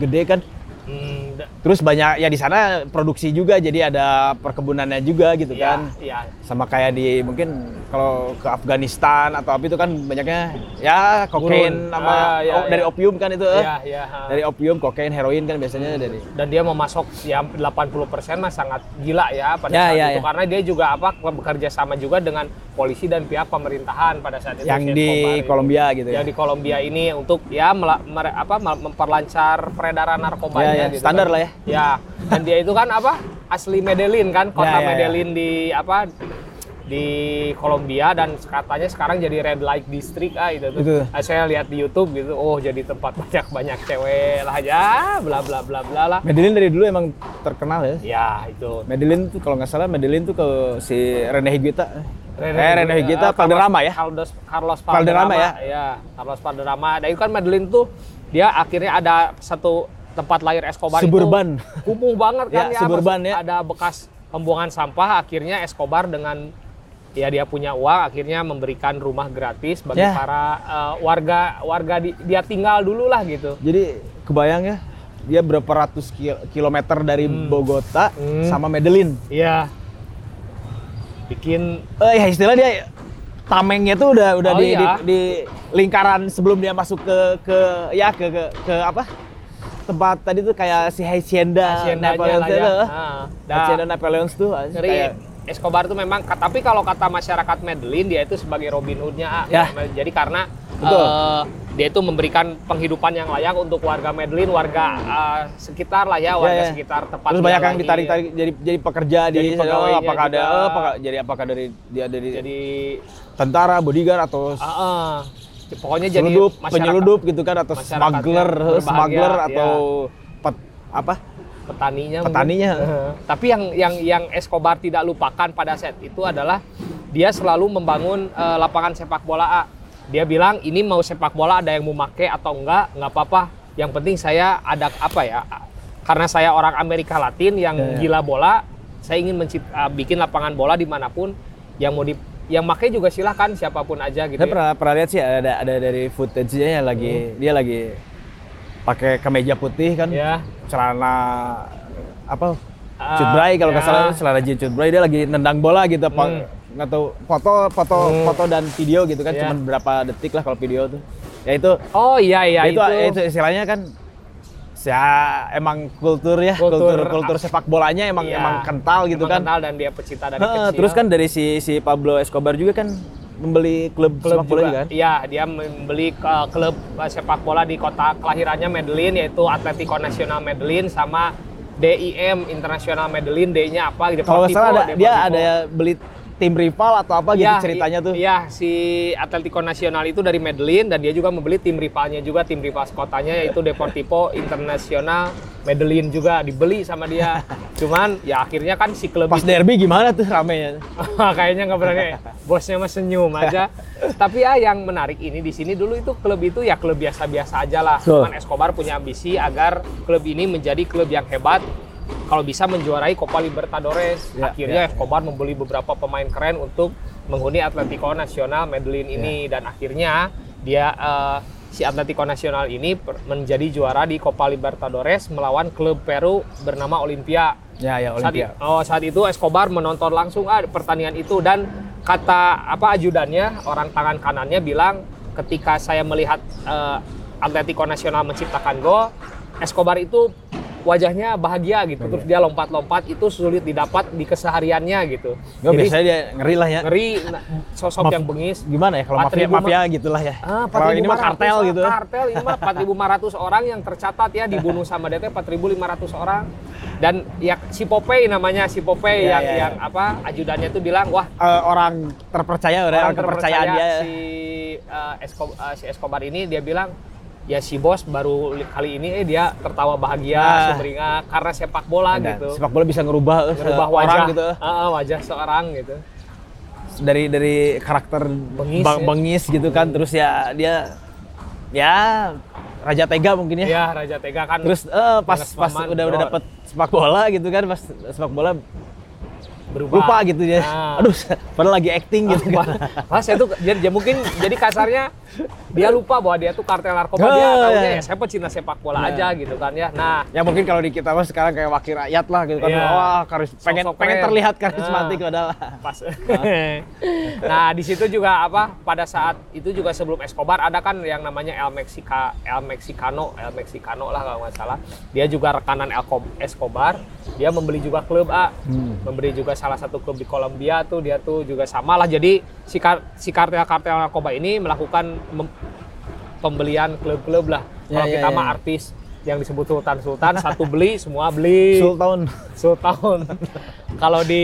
C: gede kan
B: Hmm, da-
C: terus banyak ya di sana produksi juga jadi ada perkebunannya juga gitu
B: ya,
C: kan
B: ya
C: sama kayak di mungkin kalau ke Afghanistan atau apa itu kan banyaknya ya kokain
B: Gurun.
C: sama
B: Ah, iya,
C: oh, dari
B: iya.
C: opium kan itu eh.
B: Iya, Hmm. iya. ha.
C: Dari opium, kokain, heroin kan biasanya dari
B: dan dia memasok ya 80% mah sangat gila ya pada
C: Ya,
B: saat
C: ya,
B: itu
C: ya.
B: karena dia juga apa bekerja sama juga dengan polisi dan pihak pemerintahan pada saat itu
C: yang
B: Shen
C: di
B: Kobar ini.
C: Kolombia gitu ya.
B: yang di Kolombia ini untuk ya mela- mere- apa mel- memperlancar peredaran narkobanya
C: Ya, ya,
B: gitu
C: standar
B: kan.
C: lah ya.
B: Ya, dan dia itu kan apa? Asli Medellin kan, kota
C: Ya, ya, ya.
B: Medellin di apa di Kolombia dan katanya sekarang jadi red light district ah itu tuh.
C: Itu.
B: Ah, Saya lihat di YouTube gitu, oh jadi tempat [LAUGHS] banyak-banyak cewek lah ya, bla bla bla bla lah.
C: Medellin dari dulu emang terkenal ya.
B: Ya, itu.
C: Medellin tuh kalau nggak salah Medellin tuh ke si Rene Higuita. eh Rene
B: eh,
C: Higuita Valderrama ya.
B: Carlos Carlos
C: Valderrama
B: Valderrama,
C: ya?
B: Iya, Carlos Valderrama. Dan itu kan Medellin tuh dia akhirnya ada satu tempat lahir Escobar
C: Suburban.
B: itu kumuh banget kan
C: [LAUGHS] Ya,
B: ya,
C: suburban
B: maksud-
C: ya.
B: Ada bekas pembuangan sampah akhirnya Escobar dengan ya dia punya uang akhirnya memberikan rumah gratis bagi
C: Ya.
B: para eh, warga warga di, dia tinggal dulu lah gitu.
C: Jadi kebayang ya dia berapa ratus ki- kilometer dari Bogota
B: Hmm.
C: sama Medellin.
B: Iya. Bikin
C: Eh ya istilah dia tamengnya tuh udah udah
B: Oh,
C: di,
B: iya.
C: di, di lingkaran sebelum dia masuk ke ke ya ke ke, ke apa? Tempat tadi tuh kayak si Hacienda,
B: haciendanya
C: Napoleon
B: lah
C: tuh,
B: ya.
C: eh.
B: Nah, dah.
C: Hacienda Napoleon tuh
B: Ngeri.
C: kayak-
B: Escobar itu memang, tapi kalau kata masyarakat Medellin dia itu sebagai Robin Hoodnya. Ah.
C: Ya.
B: Jadi karena
C: Betul.
B: eh, dia itu memberikan penghidupan yang layak untuk warga Medellin, warga eh, sekitar lah ya, warga
C: ya.
B: sekitar tempat.
C: Terus
B: dia
C: banyak yang
B: lahir.
C: ditarik-tarik jadi jadi pekerja di
B: Jadi
C: sana,
B: pegawainya
C: apakah ada oh,
B: juga.
C: apakah jadi apakah dari dia dari
B: Jadi,
C: tentara, bodyguard atau
B: ah, ah. pokoknya jadi
C: penyeludup,
B: masyarakat-
C: penyeludup gitu kan atau
B: masyarakat
C: smuggler,
B: yang berbahagia,
C: smuggler
B: ya.
C: atau pet- apa?
B: petaninya
C: Petaninya.
B: mungkin. [LAUGHS] tapi yang yang yang Escobar tidak lupakan pada saat itu adalah dia selalu membangun eh, lapangan sepak bola A. dia bilang ini mau sepak bola ada yang mau make atau enggak nggak apa-apa yang penting saya ada apa ya karena saya orang Amerika Latin yang
C: Ya, ya.
B: gila bola saya ingin mencipt- eh, bikin lapangan bola dimanapun yang mau di yang make juga silahkan siapapun aja gitu
C: Saya
B: ya. Hmm.
C: pernah pernah lihat sih ada ada dari footage-nya yang lagi dia lagi pakai kemeja putih kan,
B: Ya.
C: celana apa?
B: Ah,
C: cutbray kalau nggak
B: ya.
C: salah celana jeans cutbray dia lagi nendang bola gitu apa
B: Hmm.
C: nggak tahu foto foto foto dan video gitu kan
B: Ya.
C: cuman berapa detik lah kalau video tuh ya itu
B: oh iya iya
C: itu, itu istilahnya kan ya emang kultur ya kultur
B: Kultur.
C: kultur, sepak bolanya emang
B: Iya.
C: emang kental gitu
B: Emang
C: kan
B: kenal dan dia pecinta dari
C: Heeh,
B: kecil
C: terus kan dari si si Pablo Escobar juga kan membeli klub, sepak
B: klub
C: bola juga,
B: juga.
C: kan
B: Iya, dia membeli uh, klub uh, sepak bola di kota kelahirannya Medellin yaitu Atletico Nacional Medellin sama DIM Internasional Medellin D-nya apa gitu.
C: kalau nggak salah ada, dia ada beli tim rival atau apa gitu ceritanya tuh
B: Iya, si Atletico Nacional itu dari Medellin dan dia juga membeli tim rivalnya juga, tim rival sekotanya yaitu Deportivo Internasional Medellin juga dibeli sama
C: [LAUGHS]
B: dia. Cuman ya akhirnya kan si klub
C: pas derby gimana tuh ya? ramenya
B: [LAUGHS] kayaknya nggak berani bosnya mah senyum
C: [LAUGHS]
B: aja tapi ya yang menarik ini di sini dulu itu klub itu ya klub biasa-biasa aja lah
C: Betul.
B: cuman Escobar punya ambisi agar klub ini menjadi klub yang hebat kalau bisa menjuarai Copa Libertadores
C: Ya,
B: akhirnya
C: ya,
B: Escobar membeli beberapa pemain keren untuk menghuni Atletico Nacional Medellin ini
C: Ya.
B: dan akhirnya dia eh, si Atletico Nacional ini per- menjadi juara di Copa Libertadores melawan klub Peru bernama Olimpia
C: ya ya
B: saat,
C: Olimpia
B: i- oh, saat itu Escobar menonton langsung ah, pertandingan itu dan kata apa ajudannya orang tangan kanannya bilang ketika saya melihat eh, Atletico Nasional menciptakan gol Escobar itu wajahnya bahagia gitu terus dia lompat-lompat itu sulit didapat di kesehariannya gitu
C: Nggak,
B: jadi
C: biasanya dia ngeri lah ya
B: ngeri nah, sosok
C: Maaf.
B: yang bengis
C: gimana ya kalau mafia
B: Patrick Buma-
C: mafia gitulah ya.
B: Ah,
C: kalau ini mah
B: 4.500,
C: kartel gitu.
B: ah, Kartel ini mah 4.500 orang yang tercatat ya dibunuh sama DT 4.500 orang. Dan ya si Popeye namanya si Popeye
C: Iya,
B: yang
C: iya,
B: yang apa ajudannya tuh bilang wah
C: Eh, orang terpercaya orang,
B: orang
C: kepercayaan dia.
B: terpercaya si eh, Esco- eh, si Escobar ini dia bilang ya si bos baru li- kali ini eh dia tertawa bahagia
C: Ah.
B: sumringah karena sepak bola
C: Dan
B: gitu.
C: Sepak bola bisa ngerubah, eh,
B: Merubah
C: orang
B: wajah
C: gitu. eh.
B: Ah, ah, wajah seorang gitu.
C: Dari dari karakter bengis,
B: Bengis ya.
C: bengis gitu kan terus ya dia ya raja tega mungkin ya.
B: Ya Raja Tega kan
C: Terus eh, pas
B: Ngeres
C: pas
B: paman,
C: udah udah
B: bro.
C: dapet sepak bola gitu kan pas sepak bola
B: berubah.
C: lupa gitu dia.
B: Ah. Oh,
C: Aduh, padahal lagi acting gitu kan.
B: iya. ya, Wah, saya tuh jadi jadi mungkin jadi kasarnya dia lupa bahwa dia tuh kartel narkoba
C: Oh,
B: dia taunya
C: iya.
B: ya saya pecinta sepak bola aja gitu kan ya nah
C: Ya mungkin kalau di kita mah sekarang kayak wakil rakyat lah gitu kan.
B: Iya.
C: Wah, karis, pengen
B: Sosok
C: pengen
B: keren.
C: terlihat karismatik
B: Nah.
C: padahal.
B: pas [LAUGHS] nah di situ juga apa pada saat itu juga sebelum Escobar ada kan yang namanya El Mexica El Mexicano El Mexicano lah kalau nggak salah dia juga rekanan El Com- Escobar dia membeli juga klub A
C: Hmm.
B: membeli juga salah satu klub di Kolombia tuh dia tuh juga sama lah jadi si, kar- si kartel-kartel narkoba ini melakukan mem- pembelian klub-klub lah
C: Ya,
B: kalau
C: ya,
B: kita
C: ya.
B: mah artis yang disebut Sultan-Sultan satu beli semua beli
C: Sultan.
B: setahun. [LAUGHS] Kalau di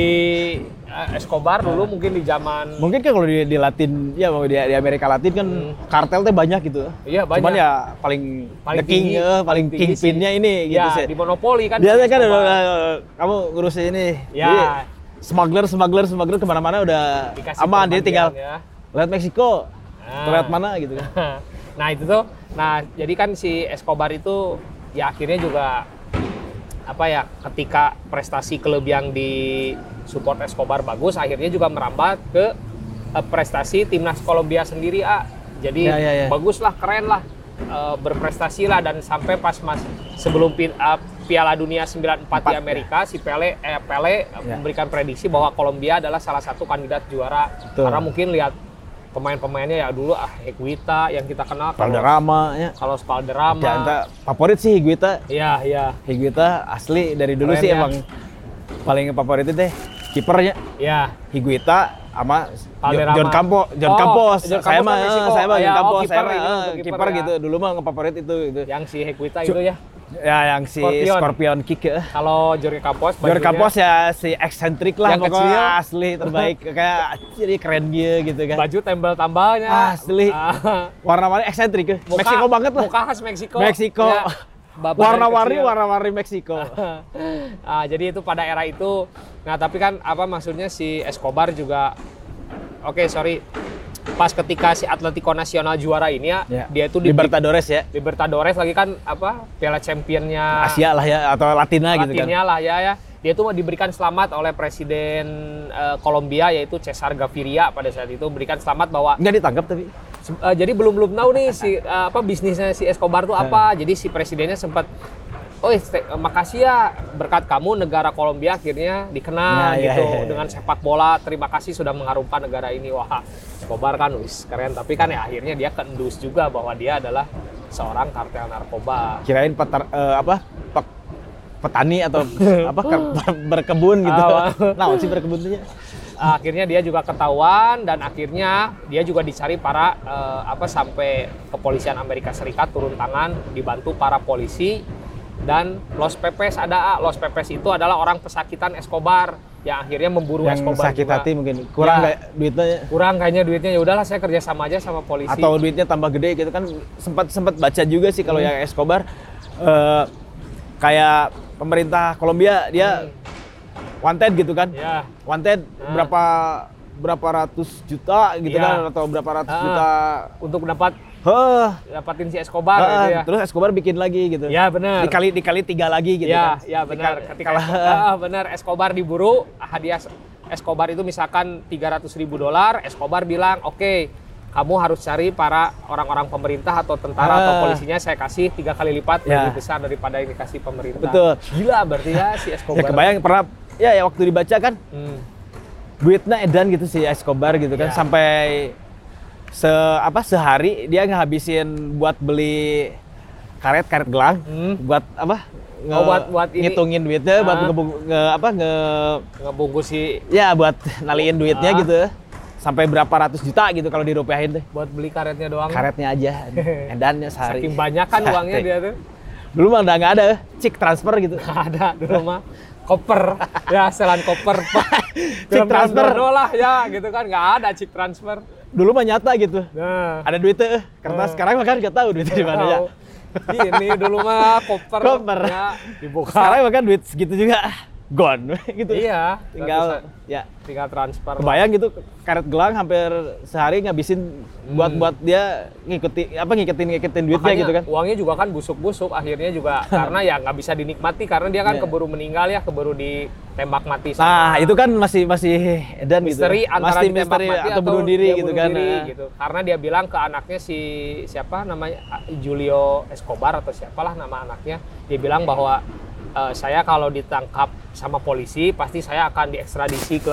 B: eh, Escobar dulu mungkin di zaman
C: Mungkin kan kalau di, di Latin, ya mau di, di Amerika Latin kan kartel teh banyak gitu.
B: Hmm. Iya,
C: Cuman
B: banyak.
C: ya paling,
B: Paling
C: the king,
B: tinggi,
C: eh, paling
B: tinggi
C: kingpinnya
B: sih.
C: ini gitu
B: ya
C: sih.
B: di monopoli kan.
C: Biasanya kan
B: Escobar.
C: udah, kamu ngurus ini.
B: Ya.
C: Jadi, smuggler, smuggler, smuggler kemana-mana udah
B: Dikasih
C: aman. Jadi
B: perpanjangan
C: tinggal
B: ya.
C: lihat Meksiko,
B: Ah.
C: lihat mana gitu kan.
B: [LAUGHS] nah itu tuh. Nah jadi kan si Escobar itu ya akhirnya juga apa ya ketika prestasi klub yang di support Escobar bagus akhirnya juga merambat ke eh, prestasi timnas Kolombia sendiri ah jadi
C: Ya, ya, ya.
B: bagus lah keren lah eh, berprestasi lah dan sampai pas mas sebelum pi- eh, Piala Dunia 94 di Amerika si Pele eh, Pele eh,
C: Ya.
B: memberikan prediksi bahwa Kolombia adalah salah satu kandidat juara
C: Betul.
B: karena mungkin lihat pemain-pemainnya ya dulu ah Higuita yang kita kenal kalau
C: Valderrama ya. Ya, entah,
B: kalau Spalderama
C: favorit sih Higuita.
B: ya ya
C: Higuita asli dari dulu
B: Keren
C: sih
B: ya.
C: emang paling favorit itu deh kipernya
B: ya
C: Higuita sama
B: Valderrama.
C: John Campo, John
B: Oh,
C: Campos.
B: John Campos
C: saya mah,
B: kan
C: eh,
B: Meksiko.
C: saya mah
B: Ya,
C: John
B: oh,
C: Campos, saya
B: kiper
C: mah
B: gitu,
C: eh,
B: kiper
C: kiper
B: ya.
C: gitu. Dulu mah ngefavorit itu gitu. Ya,
B: yang si Higuita
C: Cu-
B: itu ya
C: yang si
B: Scorpion.
C: Scorpion, Kick ya.
B: kalau Jorge Campos
C: John
B: bajunya-
C: Campos ya si eksentrik lah
B: Yang
C: pokoknya
B: kecil.
C: asli
B: [LAUGHS]
C: terbaik kayak jadi keren dia gitu kan.
B: baju tembel tambalnya Ah.
C: Asli. [LAUGHS] Warna-warna eksentrik. ya. Meksiko banget lah.
B: muka khas Meksiko
C: Meksiko. [LAUGHS]
B: Ya, babaran
C: Warna-warni
B: kecil.
C: warna-warni Meksiko.
B: [LAUGHS] Ah, jadi itu pada era itu nah tapi kan apa maksudnya si Escobar juga oke sorry pas ketika si Atletico Nasional juara ini ya,
C: Ya.
B: dia itu di
C: Libertadores ya.
B: Libertadores lagi kan apa Piala Championnya
C: Asia lah ya atau Latina, gitu kan.
B: Ah. Latinnya lah ya ya. Dia tuh diberikan selamat oleh presiden eh, Kolombia yaitu Cesar Gaviria pada saat itu berikan selamat bahwa
C: Nggak ditangkap tapi.
B: se- eh, jadi belum belum tahu nih si eh, apa bisnisnya si Escobar tuh
C: Hmm.
B: apa. Jadi si presidennya sempat Oh, makasih ya berkat kamu negara Kolombia akhirnya
C: Nah,
B: dikenal
C: iya,
B: gitu
C: iya, iya.
B: dengan sepak bola. Terima kasih sudah mengharumkan negara ini. Wah, Escobar kan wis keren tapi kan ya akhirnya dia keendus juga bahwa dia adalah seorang kartel narkoba.
C: Kirain petar, eh, apa? pe- petani
B: [LAUGHS]
C: atau apa ke- berkebun gitu.
B: Ah,
C: [LAUGHS] nah, sih berkebun tuh ya.
B: akhirnya dia juga ketahuan dan akhirnya dia juga dicari para eh, apa sampai kepolisian Amerika Serikat turun tangan dibantu para polisi dan Los Pepes ada ah. Los Pepes itu adalah orang pesakitan Escobar yang akhirnya memburu
C: Yang
B: Escobar
C: sakit
B: juga.
C: hati mungkin kurang
B: Ya.
C: nggak duitnya ya?
B: kurang kayaknya duitnya ya udahlah saya kerja sama aja sama polisi
C: atau duitnya tambah gede gitu kan sempat sempat baca juga sih
B: Hmm.
C: kalau yang Escobar eh, kayak pemerintah Kolombia dia wanted gitu kan.
B: ya
C: Wanted
B: Ah.
C: berapa berapa ratus juta gitu
B: Iya.
C: kan atau berapa ratus
B: Ah.
C: juta.
B: untuk dapat
C: Heh.
B: dapatin si
C: Ah,
B: Escobar gitu ya
C: Terus Escobar bikin lagi gitu.
B: Ya, benar.
C: Dikali dikali tiga lagi gitu
B: ya,
C: kan.
B: ya benar.
C: Dikali-
B: Ketika
C: kalah. [LAUGHS]
B: Ah, benar Escobar diburu, hadiah Escobar itu misalkan 300 ribu dolar, Escobar bilang, "Oke, kamu harus cari para orang-orang pemerintah atau tentara atau
C: Ah.
B: polisinya saya kasih tiga kali lipat
C: Ya.
B: lebih besar daripada yang dikasih pemerintah."
C: Betul.
B: Gila berarti ya si
C: ya
B: Escobar.
C: kebayang pernah ya, ya waktu dibaca kan
B: Hmm.
C: duitnya edan gitu si Escobar gitu kan
B: Ya.
C: sampai se apa sehari dia ngehabisin buat beli karet karet gelang
B: Hmm.
C: buat apa nge-
B: Oh, buat- buat ini.
C: ngitungin duitnya buat
B: Ah.
C: ngebu- nge, apa nge
B: Ngebungkus si
C: ya buat naliin duitnya
B: Ah.
C: gitu sampai berapa ratus juta gitu kalau dirupiahin deh
B: buat beli karetnya doang.
C: karetnya aja
B: [LAUGHS]
C: edannya sehari
B: Hmm. Saking banyak kan uangnya
C: Saking.
B: dia tuh. [LAUGHS]
C: dulu mah udah nggak ada cik transfer gitu
B: Nggak ada dulu mah koper ya selan koper
C: [LAUGHS]
B: pak
C: Cik transfer.
B: Dono lah ya gitu kan nggak ada cik transfer
C: dulu mah nyata gitu
B: nah
C: ada duitnya eh. kertas sekarang mah kan nggak tahu duitnya di mana ya
B: Hmm. Tahu. Ini dulu mah koper.
C: Koper.
B: Ya, dibuka.
C: sekarang mah kan duit segitu juga gone [LAUGHS] gitu.
B: Iya,
C: Tinggal
B: gratisan.
C: ya
B: tinggal transfer.
C: kebayang gitu karet gelang hampir sehari ngabisin buat buat dia ngikuti apa ngikutin ngikutin duitnya
B: Hmm. Makanya
C: gitu kan.
B: uangnya juga kan busuk-busuk akhirnya
C: [LAUGHS]
B: juga karena ya nggak bisa dinikmati karena dia kan
C: Iya.
B: keburu meninggal ya keburu ditembak mati.
C: Nah,
B: sama
C: itu kan masih masih edan gitu.
B: misteri antara
C: masih
B: ditembak
C: misteri
B: mati
C: atau bunuh diri
B: dia
C: gitu
B: bunuh
C: kan.
B: diri
C: Nah,
B: gitu. Karena dia bilang ke anaknya si siapa namanya Julio Escobar atau siapalah nama anaknya dia bilang bahwa "Eh, saya kalau ditangkap sama polisi pasti saya akan diekstradisi ke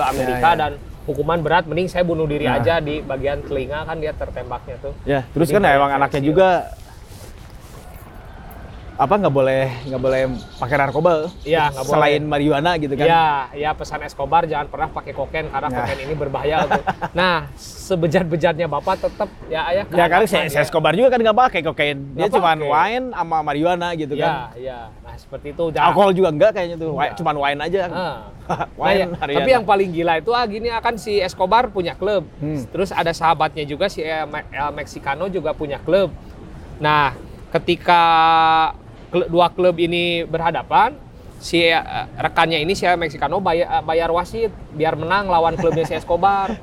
C: ya.
B: Amerika dan hukuman berat mending saya bunuh diri
C: Nah.
B: aja di bagian telinga kan dia tertembaknya tuh.
C: Ya, terus kan
B: Ini kayak gitu.
C: emang anaknya
B: versi
C: juga apa nggak boleh nggak boleh pakai narkoba
B: Iya, nggak boleh.
C: selain marijuana gitu kan
B: Ya, ya pesan Escobar jangan pernah pakai kokain karena
C: Nah.
B: kokain ini berbahaya.
C: [LAUGHS]
B: untuk- Nah, sebejat-bejatnya bapak tetap ya ayah. ke
C: ya kan
B: anaknya,
C: saya Escobar juga kan nggak pakai kokain dia
B: Nggak
C: cuma
B: pakai.
C: wine sama marijuana gitu
B: Ya,
C: kan
B: ya. Nah seperti itu. Nah,
C: Ya, alkohol juga enggak kayaknya tuh
B: Nggak.
C: cuma wine aja
B: Ah. Nah,
C: [LAUGHS] wine
B: ya,
C: marijuana.
B: tapi yang paling gila itu ah gini akan si Escobar punya klub.
C: Hmm.
B: Terus ada sahabatnya juga si El Me- El Mexicano juga punya klub. Nah, ketika kle- dua klub ini berhadapan, si eh, rekannya ini si El Mexicano bayar, bayar wasit biar menang lawan klubnya si
C: [LAUGHS]
B: Escobar.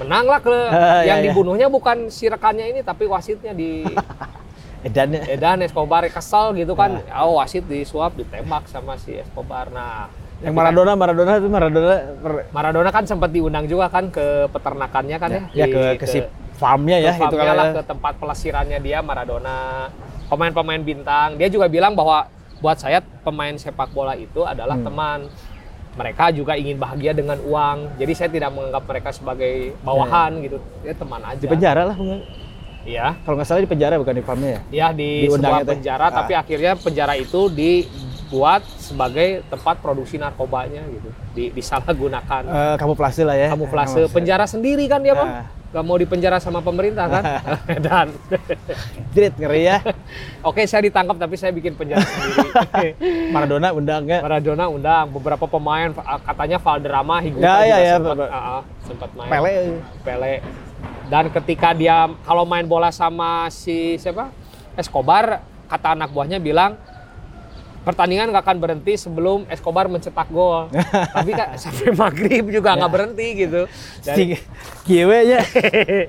B: Menanglah klub.
C: Ah,
B: yang
C: iya, iya.
B: dibunuhnya bukan si rekannya ini tapi wasitnya
C: [LAUGHS]
B: di
C: edannya
B: Edan Escobar kesel gitu kan.
C: Iya.
B: Oh, wasit disuap ditembak sama si Escobar. Nah,
C: yang Maradona Maradona itu Maradona per-
B: Maradona kan sempat diundang juga kan ke peternakannya kan ya,
C: ya
B: di-
C: ke ke si farmnya
B: ke
C: ya itu
B: farmnya
C: kan
B: lah,
C: ya.
B: ke tempat pelesirannya dia Maradona pemain-pemain bintang dia juga bilang bahwa buat saya pemain sepak bola itu adalah
C: Hmm.
B: teman mereka juga ingin bahagia dengan uang jadi saya tidak menganggap mereka sebagai bawahan gitu ya teman aja
C: di penjara lah bukan-
B: ya
C: kalau nggak salah di penjara bukan di farmnya ya
B: ya di
C: Diundang
B: sebuah
C: itu.
B: penjara
C: Ah.
B: tapi akhirnya penjara itu dibuat sebagai tempat produksi narkobanya gitu di, disalahgunakan
C: Eh, kamuflase lah ya
B: kamuflase penjara sendiri kan dia
C: Nah.
B: mah nggak mau dipenjara sama pemerintah
C: [LAUGHS]
B: kan dan [LAUGHS]
C: Jrit, ngeri ya
B: oke saya ditangkap tapi saya bikin penjara
C: [LAUGHS]
B: sendiri
C: Maradona undang ya
B: Maradona undang beberapa pemain ah, katanya Valderrama Higuita
C: Ya, ya,
B: juga
C: ya,
B: sempat,
C: Pak.
B: ah, ah, sempat main
C: Pele
B: Pele dan ketika dia kalau main bola sama si siapa Escobar kata anak buahnya bilang pertandingan nggak akan berhenti sebelum Escobar mencetak gol
C: [LAUGHS]
B: tapi kan sampai maghrib juga nggak berhenti gitu Dan-
C: Ya. si kiwe
B: [LAUGHS]
C: nya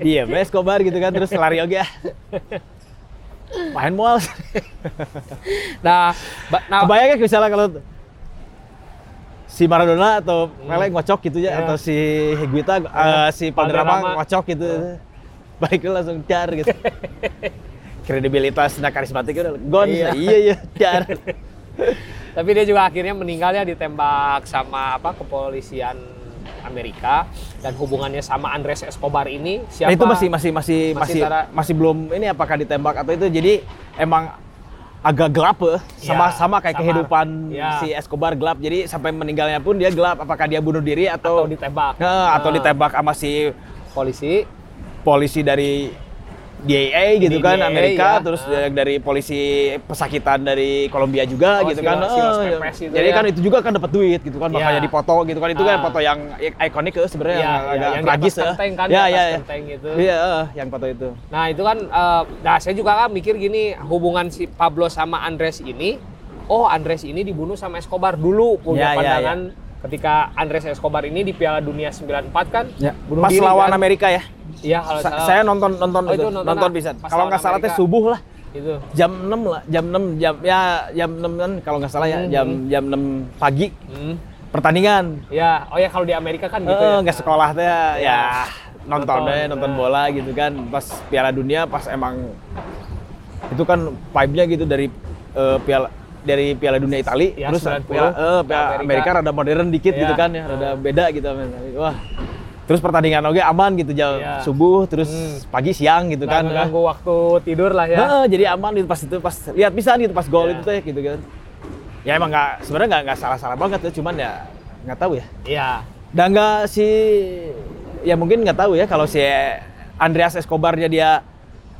C: iya bes kobar gitu kan terus lari oke ya main mual
B: nah ba- nah
C: kebayang kan misalnya kalau si Maradona atau Pele ngocok gitu ya
B: Iya.
C: atau si Higuita eh, si
B: Valderrama.
C: Valderrama ngocok gitu
B: Iya.
C: baik lu langsung car gitu
B: [LAUGHS]
C: kredibilitas nah karismatiknya udah gone
B: Iya.
C: Nah, [LAUGHS] iya iya
B: [LAUGHS]
C: car
B: Tapi dia juga akhirnya meninggalnya ditembak sama apa kepolisian Amerika dan hubungannya sama Andres Escobar ini
C: Nah,
B: siapa?
C: itu masih masih masih
B: Masih
C: masih
B: antara-
C: masih belum ini apakah ditembak atau itu jadi emang agak gelap eh. sama
B: Ya,
C: sama kayak
B: sama.
C: kehidupan
B: Ya.
C: si Escobar gelap jadi sampai meninggalnya pun dia gelap apakah dia bunuh diri atau
B: atau ditembak
C: Eh, atau
B: Nah,
C: ditembak sama si
B: polisi
C: polisi dari DEA gitu kan
B: DEA,
C: Amerika
B: ya.
C: terus
B: Ah.
C: dari polisi pesakitan dari Kolombia juga
B: Oh,
C: gitu
B: si
C: kan
B: Los- si Los
C: Eh,
B: Pepes itu
C: jadi
B: ya.
C: kan itu juga kan dapat duit gitu kan
B: Ya.
C: makanya dipoto gitu kan itu kan
B: Ah.
C: foto yang i- ikonik eh, sebenarnya
B: Ya,
C: yang
B: ya,
C: agak
B: yang di
C: tragis
B: atas
C: eh.
B: kenteng kan, di
C: ya
B: atas
C: ya, ya.
B: kenteng gitu.
C: iya eh, yang foto itu
B: Nah itu kan, eh, nah saya juga kan mikir gini hubungan si Pablo sama Andres ini, oh Andres ini dibunuh sama Escobar dulu
C: Ya, ya,
B: punya pandangan ketika Andres Escobar ini di Piala Dunia 94 kan,
C: Ya,
B: bunuh
C: pas
B: diri,
C: lawan
B: kan?
C: Amerika ya.
B: Iya kalau
C: Sa-
B: salah.
C: saya nonton nonton
B: Oh, itu
C: itu,
B: nonton
C: nonton
B: apa?
C: bisa.
B: Pas
C: Kalau
B: lawan
C: nggak salah teh
B: Amerika.
C: subuh lah.
B: itu.
C: Jam 6 lah, jam 6 jam ya jam 6 kan kalau nggak salah ya,
B: Mhm.
C: jam jam 6 pagi
B: Hmm.
C: pertandingan.
B: Ya, oh ya kalau di Amerika kan
C: Eh,
B: gitu ya.
C: nggak
B: Nah.
C: sekolah teh ya nonton
B: Nonton,
C: deh, nonton
B: nah.
C: bola gitu kan. Pas Piala Dunia pas emang itu kan vibe-nya gitu dari eh, Piala dari Piala Dunia Itali
B: Ya,
C: terus
B: 90,
C: Piala, eh, Piala
B: Amerika.
C: Amerika. rada modern dikit
B: Ya.
C: gitu kan ya, rada beda gitu Wah. Terus pertandingan oke aman gitu jam
B: Ya.
C: subuh terus
B: Hmm.
C: pagi siang gitu
B: Nggak
C: kan.
B: ganggu waktu tidur lah ya.
C: Heeh, jadi aman itu pas itu pas lihat bisa gitu pas gol
B: Ya.
C: itu teh gitu kan. Ya emang nggak sebenarnya nggak nggak salah-salah banget ya, cuman ya nggak tahu ya.
B: Iya.
C: Dan nggak si ya mungkin nggak tahu ya kalau si Andreas Escobarnya dia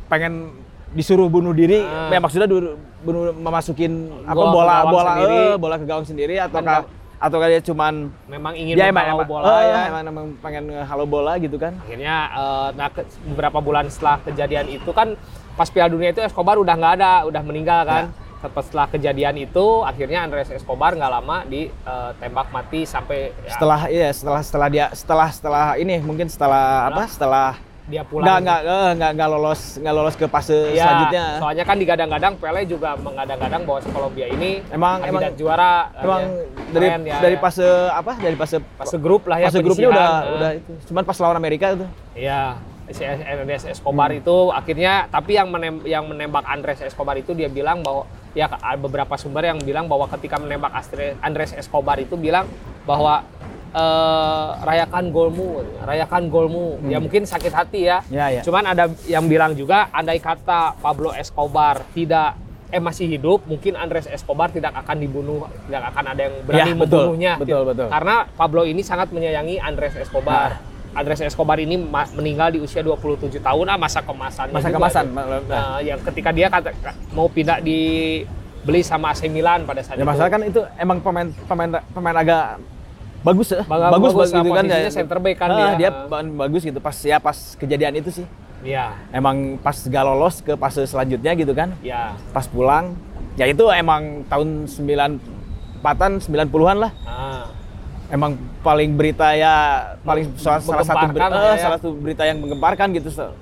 C: pengen disuruh bunuh diri,
B: Ah.
C: ya maksudnya dulu- bunuh memasukin apa
B: Gol ke
C: bola
B: gawang
C: bola
B: sendiri.
C: eh, bola ke gawang sendiri atau
B: Kan nggak-
C: atau dia cuman
B: Memang ingin
C: ya emang
B: menghalau
C: emang,
B: bola
C: eh,
B: ya.
C: emang, emang pengen halo bola gitu kan.
B: Akhirnya, eh, nah ke-
C: Ya.
B: beberapa bulan setelah kejadian itu kan pas Piala Dunia itu Escobar udah nggak ada, udah meninggal kan. Tepat setelah kejadian itu, akhirnya Andres Escobar nggak lama ditembak mati sampai ya,
C: setelah iya setelah setelah dia setelah setelah ini mungkin setelah apa setelah
B: dia Nah, pulang.
C: nggak nggak eh, nggak nggak lolos nggak lolos ke fase
B: Ya,
C: selanjutnya
B: soalnya kan digadang-gadang Pele juga mengadang-gadang bahwa Kolombia ini
C: Emang-
B: kandidat
C: emang-
B: juara.
C: emang
B: Keren
C: dari
B: ya,
C: dari
B: ya.
C: fase apa dari fase
B: fase grup lah ya.
C: fase grupnya
B: penyisihan.
C: udah
B: Nah,
C: udah itu cuman pas lawan Amerika itu
B: Iya. Si Andres Escobar
C: Hmm.
B: itu akhirnya tapi yang menem- yang menembak Andres Escobar itu dia bilang bahwa ya beberapa sumber yang bilang bahwa ketika menembak Astre- Andres Escobar itu bilang bahwa eh, rayakan golmu, rayakan golmu. Ya mungkin sakit hati ya.
C: Hmm. Ya, ya.
B: Cuman ada yang bilang juga andai kata Pablo Escobar tidak eh masih hidup, mungkin Andres Escobar tidak akan dibunuh, tidak akan ada yang berani
C: Ya, betul.
B: membunuhnya.
C: Betul, betul.
B: Karena Pablo ini sangat menyayangi Andres Escobar.
C: Nah.
B: Andres Escobar ini ma- meninggal di usia 27 tahun, ah masa kemasan.
C: masa kemasan nah,
B: yang ketika dia kata, mau pindah dibeli sama AC Milan pada saat
C: ya
B: itu.
C: masalah kan itu emang pemain pemain pemain agak bagus ya
B: Bagus, bagus,
C: gitu kan
B: posisinya
C: ya.
B: center back kan
C: Ah,
B: dia.
C: dia ba- bagus gitu pas ya pas kejadian itu sih
B: Ya,
C: emang pas gak lolos ke fase selanjutnya gitu kan
B: ya.
C: pas pulang ya itu emang tahun 94-an 90-an lah
B: Ah,
C: emang paling berita ya paling salah, salah satu berita
B: Menggemparkan lah ya.
C: salah satu berita yang menggemparkan gitu se-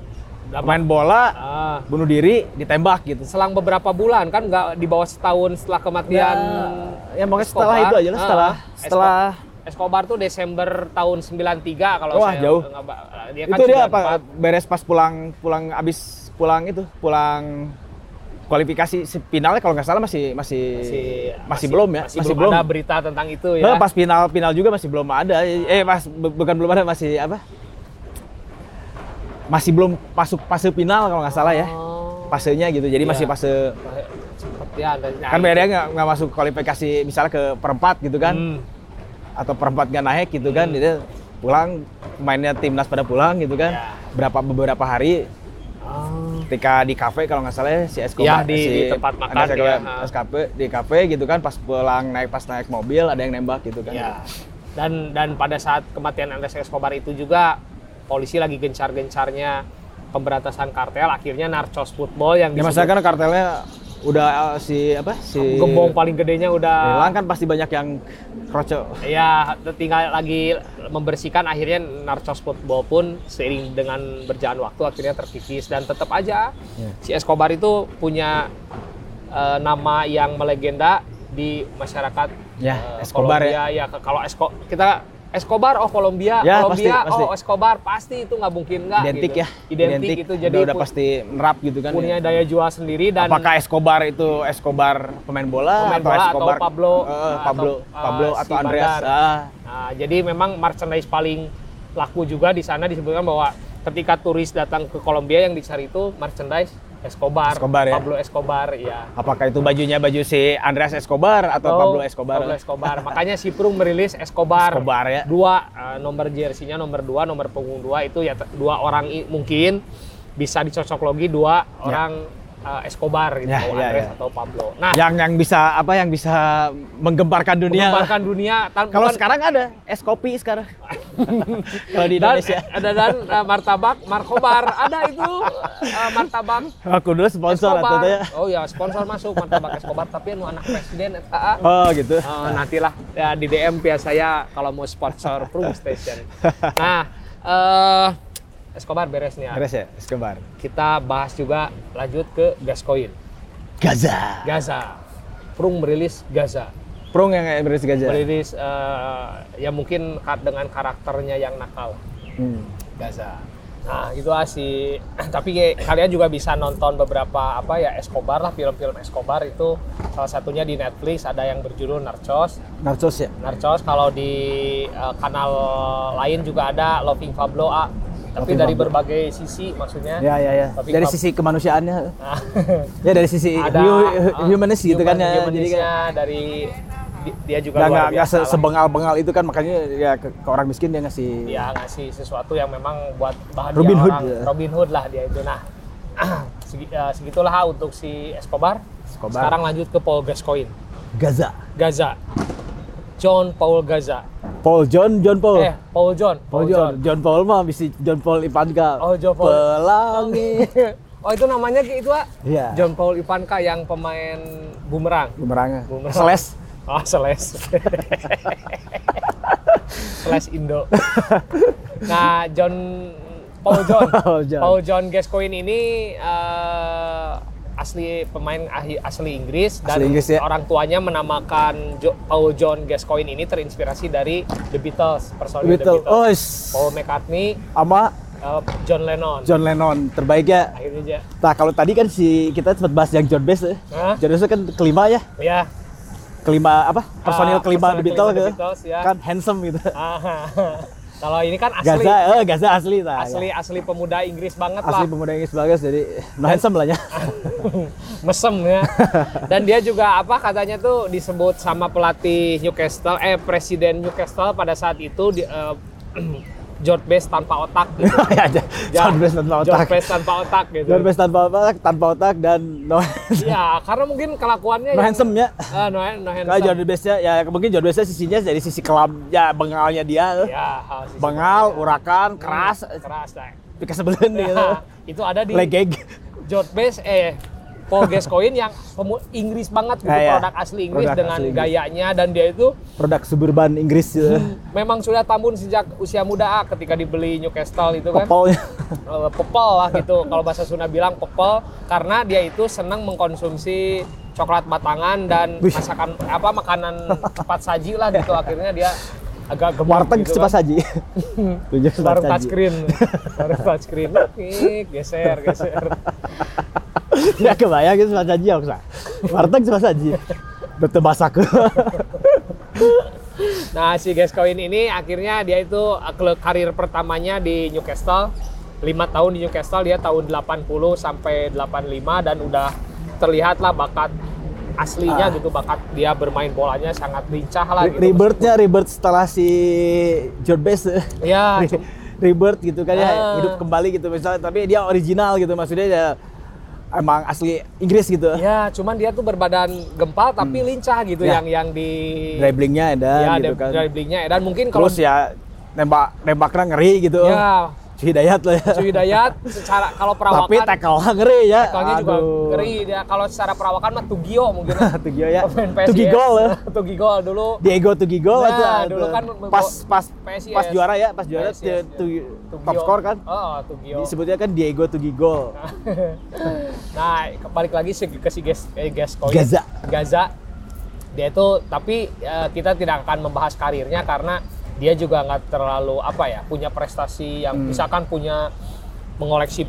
B: dapat-
C: main bola
B: ah.
C: bunuh diri ditembak gitu
B: Selang beberapa bulan kan nggak di bawah setahun setelah kematian.
C: Ya, ya pokoknya setelah itu aja lah, setelah-
B: ah.
C: setelah-
B: Escobar tuh Desember tahun 93 kalau
C: Wah,
B: saya
C: jauh.
B: nggak ba- Dia kan
C: itu dia
B: 94.
C: apa beres pas pulang pulang abis pulang itu pulang kualifikasi se- finalnya kalau nggak salah masih masih masih, belum ya
B: masih, belum ada berita tentang itu ya
C: Nah, pas final final juga masih belum ada. Eh pas bu- bukan belum ada masih apa? Masih belum masuk fase final kalau nggak salah ya.
B: Oh.
C: Pasenya gitu. Jadi
B: Iya.
C: masih fase
B: Cepet ya ada nah,
C: kan BRI nggak nggak masuk kualifikasi misalnya ke perempat gitu kan
B: Hmm.
C: atau perempat nggak naik gitu kan jadi pulang mainnya timnas pada pulang gitu kan
B: Ya.
C: berapa beberapa hari
B: Oh.
C: ketika di kafe kalau nggak salah ya, si Esko
B: Ya, di- di tempat makan ya, ha.
C: di kafe gitu kan pas pulang naik pas naik mobil ada yang nembak gitu kan
B: Ya. Dan dan pada saat kematian Andres Escobar itu juga polisi lagi gencar-gencarnya pemberantasan kartel akhirnya Narcos Football yang
C: Ya masalah
B: disebut-
C: kan kartelnya udah eh, si apa si
B: gembong paling gedenya udah
C: hilang kan pasti banyak yang kroco.
B: Ya, tinggal lagi membersihkan akhirnya Narcos Football pun seiring dengan berjalan waktu akhirnya terkikis dan tetap aja
C: Ya.
B: si Escobar itu punya eh, nama yang melegenda di masyarakat
C: Ya,
B: eh,
C: Escobar
B: Kolombia. ya. ke- kalau Esco kita Escobar oh Kolombia,
C: Ya,
B: Kolombia
C: pasti, pasti.
B: oh Escobar pasti itu nggak mungkin nggak
C: Identik
B: gitu.
C: ya.
B: Identik, itu jadi
C: udah, udah
B: pu-
C: pasti nerap gitu kan.
B: punya daya jual sendiri dan
C: Apakah Escobar itu Escobar pemain bola atau
B: Pemain bola atau
C: Escobar
B: Pablo,
C: Eh,
B: atau,
C: Pablo
B: eh,
C: Pablo
B: si
C: atau Andreas.
B: Bandar.
C: Ah,
B: Nah, jadi memang merchandise paling laku juga di sana disebutkan bahwa ketika turis datang ke Kolombia yang dicari itu merchandise Escobar,
C: Escobar, ya?
B: Pablo Escobar, ya.
C: apakah itu bajunya baju si Andreas Escobar atau Pablo Escobar?
B: Oh, Pablo Escobar. Makanya si Prung merilis Escobar.
C: Escobar, ya.
B: Dua eh, nomor jersinya nomor dua, nomor punggung dua itu ya te- dua orang i- mungkin bisa dicocok logi dua orang eh, Escobar gitu,
C: Ya, ya,
B: Andres
C: ya.
B: atau Pablo. Nah,
C: Yang yang bisa apa yang bisa menggemparkan dunia.
B: menggemparkan dunia tan-
C: Kalau
B: bukan-
C: sekarang ada es kopi
B: [LAUGHS]
C: sekarang. Kalau di Indonesia.
B: Dan, ada dan eh, martabak Markobar ada itu eh, martabak
C: Aku dulu Oh, sponsor atau
B: Escobar.
C: ya.
B: Oh ya sponsor masuk martabak Escobar tapi anu anak presiden eta. ah.
C: Oh gitu.
B: Eh, nantilah ya, di DM biasa saya kalau mau sponsor Prung Station. Nah, eh Escobar beres nih. Ar.
C: Beres ya, Escobar.
B: Kita bahas juga lanjut ke Gascoin.
C: Gaza.
B: Gaza. Prung merilis Gaza.
C: Prung yang kayak beres Gaza.
B: Merilis eh, ya mungkin ka- dengan karakternya yang nakal.
C: Hmm.
B: Gaza. Nah, gitu lah sih. [CLEARS THROAT] Tapi kayak kalian juga bisa nonton beberapa apa ya Escobar lah film-film Escobar itu salah satunya di Netflix ada yang berjudul Narcos.
C: Narcos ya.
B: Narcos kalau di eh, kanal lain juga ada Loving Pablo A. Tapi
C: Loving
B: dari
C: Pablo.
B: berbagai sisi maksudnya. [LAUGHS]
C: Ya ya ya.
B: Tapi
C: dari
B: kalau-
C: sisi kemanusiaannya.
B: Nah,
C: Ya dari sisi
B: ada
C: hu- hu-
B: eh,
C: humanis gitu kan ya. Jadi
B: humanisnya
C: kan
B: dari di- dia juga
C: nggak-
B: luar
C: nggak nggak
B: biasa
C: se-
B: lah.
C: sebengal-bengal itu kan makanya ya ke, ke orang miskin dia ngasih.
B: dia ngasih sesuatu yang memang buat bahan
C: Robin Hood,
B: orang
C: ya.
B: Robin Hood lah dia itu nah [CLEARS THROAT] segi- eh, segitulah untuk si Escobar.
C: Escobar.
B: sekarang lanjut ke Paul Gascoigne
C: Gaza.
B: Gaza John Paul Gaza
C: Paul John John Paul.
B: eh Paul John
C: Oh. Paul John. John Paul mah bisi John Paul Ivanka.
B: Oh, John Paul.
C: Pelangi.
B: [LAUGHS] oh itu namanya kayak itu ah
C: Iya.
B: John Paul Ivanka yang pemain bumerang.
C: bumerangnya.
B: Bumerang.
C: Seles.
B: Oh,
C: [LAUGHS]
B: Seles. Seles Indo. Nah, John
C: [LAUGHS]
B: Paul John,
C: Paul John.
B: Paul John Gascoigne ini eh, asli pemain ahi- asli Inggris dan
C: Asli Inggris, ya.
B: orang tuanya menamakan Jo- Paul John Gascoigne ini terinspirasi dari The Beatles, personil The
C: Betul.
B: Beatles.
C: Oh,
B: Paul McCartney,
C: sama
B: eh, John Lennon.
C: John Lennon terbaiknya.
B: Akhirnya aja.
C: Nah kalau tadi kan si kita sempat bahas yang John Bass ya.
B: Hah?
C: John Bass kan kelima ya,
B: Ya.
C: kelima apa? Personil
B: Ah,
C: kelima
B: personil
C: The Beatles,
B: kelima The
C: gitu.
B: Beatles, ya.
C: kan handsome gitu.
B: Ah, Kalau ini kan asli
C: Gaza, eh Gaza asli nah,
B: asli asli pemuda Inggris banget
C: ya. asli
B: lah.
C: pemuda Inggris bagus jadi no handsome
B: [LAUGHS]
C: lah ya. [LAUGHS]
B: mesem ya. Dan dia juga apa katanya tuh disebut sama pelatih Newcastle eh presiden Newcastle pada saat itu di, eh, [CLEARS THROAT] George Best tanpa otak
C: [LAUGHS]
B: gitu.
C: Ya, John Bass tanpa
B: George
C: otak.
B: Best tanpa otak gitu.
C: John Bass tanpa otak, tanpa otak dan no, no
B: Iya, karena mungkin kelakuannya yang-
C: handsome ya.
B: Eh, no, no
C: Kalau
B: handsome.
C: John Bass-nya ya mungkin John Bass-nya sisinya dari sisi kelam ya bengalnya dia. eh.
B: Ya, hal sisi-
C: Bengal, urakan, keras, ya.
B: keras. nah.
C: pikir sebelum gitu.
B: Ya, [LAUGHS] itu ada di
C: Legeg.
B: George Best eh Paul Gascoigne yang pemu- Inggris banget gitu
C: Ya, ya.
B: produk asli Inggris
C: Produk
B: dengan
C: asli Inggris.
B: gayanya dan dia itu
C: Produk suburban Inggris gitu.
B: Hmm, memang sudah tambun sejak usia muda ah, ketika dibeli Newcastle itu kan
C: Popolnya.
B: Eh, pepel lah gitu kalau bahasa Sunda bilang pepel karena dia itu senang mengkonsumsi coklat batangan dan
C: Wih.
B: masakan apa makanan cepat saji lah gitu akhirnya dia agak gemuk
C: Warteg
B: gitu
C: cepat
B: kan.
C: saji. Tunjuk cepat
B: baru
C: saji.
B: touchscreen baru touchscreen Ih, geser geser
C: Ya kebayang gitu cepat saji aku sah. Warteg cepat saji. Betul basaku.
B: Nah, si Gascoigne ini akhirnya dia itu eh, ke- karir pertamanya di Newcastle. 5 tahun di Newcastle dia tahun 80 sampai 85 dan udah terlihatlah bakat
C: Ah.
B: aslinya gitu bakat dia bermain bolanya sangat lincah lah gitu.
C: Rebirthnya rebirth setelah si John Bass. eh.
B: Ya,
C: Re- Rebirth gitu kan ya
B: Ah.
C: hidup kembali gitu misalnya tapi dia original gitu maksudnya ya emang asli Inggris gitu.
B: ya cuman dia tuh berbadan gempal tapi lincah gitu
C: Ya.
B: yang yang di
C: Dribblingnya ada
B: ya,
C: gitu
B: di-
C: kan.
B: dribblingnya. Dan mungkin kalau
C: Terus ya nembak nembaknya ngeri gitu.
B: ya
C: Hidayat lah ya.
B: Cuy Dayat secara kalau
C: [LAUGHS]
B: perawakan
C: Tapi tackle ngeri ya.
B: tackle-nya juga
C: Aduh. [LAUGHS]
B: ngeri dia. Kalau secara perawakan mah Tugio mungkin
C: Tugio ya.
B: Pemain PSIS.
C: Tugi gol
B: [LAUGHS]
C: ya.
B: Tugi gol dulu.
C: Diego Tugi gol
B: Nah,
C: aja.
B: dulu kan
C: pas pas
B: PSIS.
C: pas juara ya, pas juara
B: PSIS,
C: dia
B: ya.
C: Tugi-
B: Tugio.
C: top score kan.
B: Oh, Tugio.
C: Disebutnya kan Diego Tugi gol.
B: Nah, balik lagi sih ke si Gas eh, Gascoigne.
C: Gaza.
B: Gaza. Dia itu tapi eh, kita tidak akan membahas karirnya karena dia juga nggak terlalu apa ya, punya prestasi yang misalkan punya mengoleksi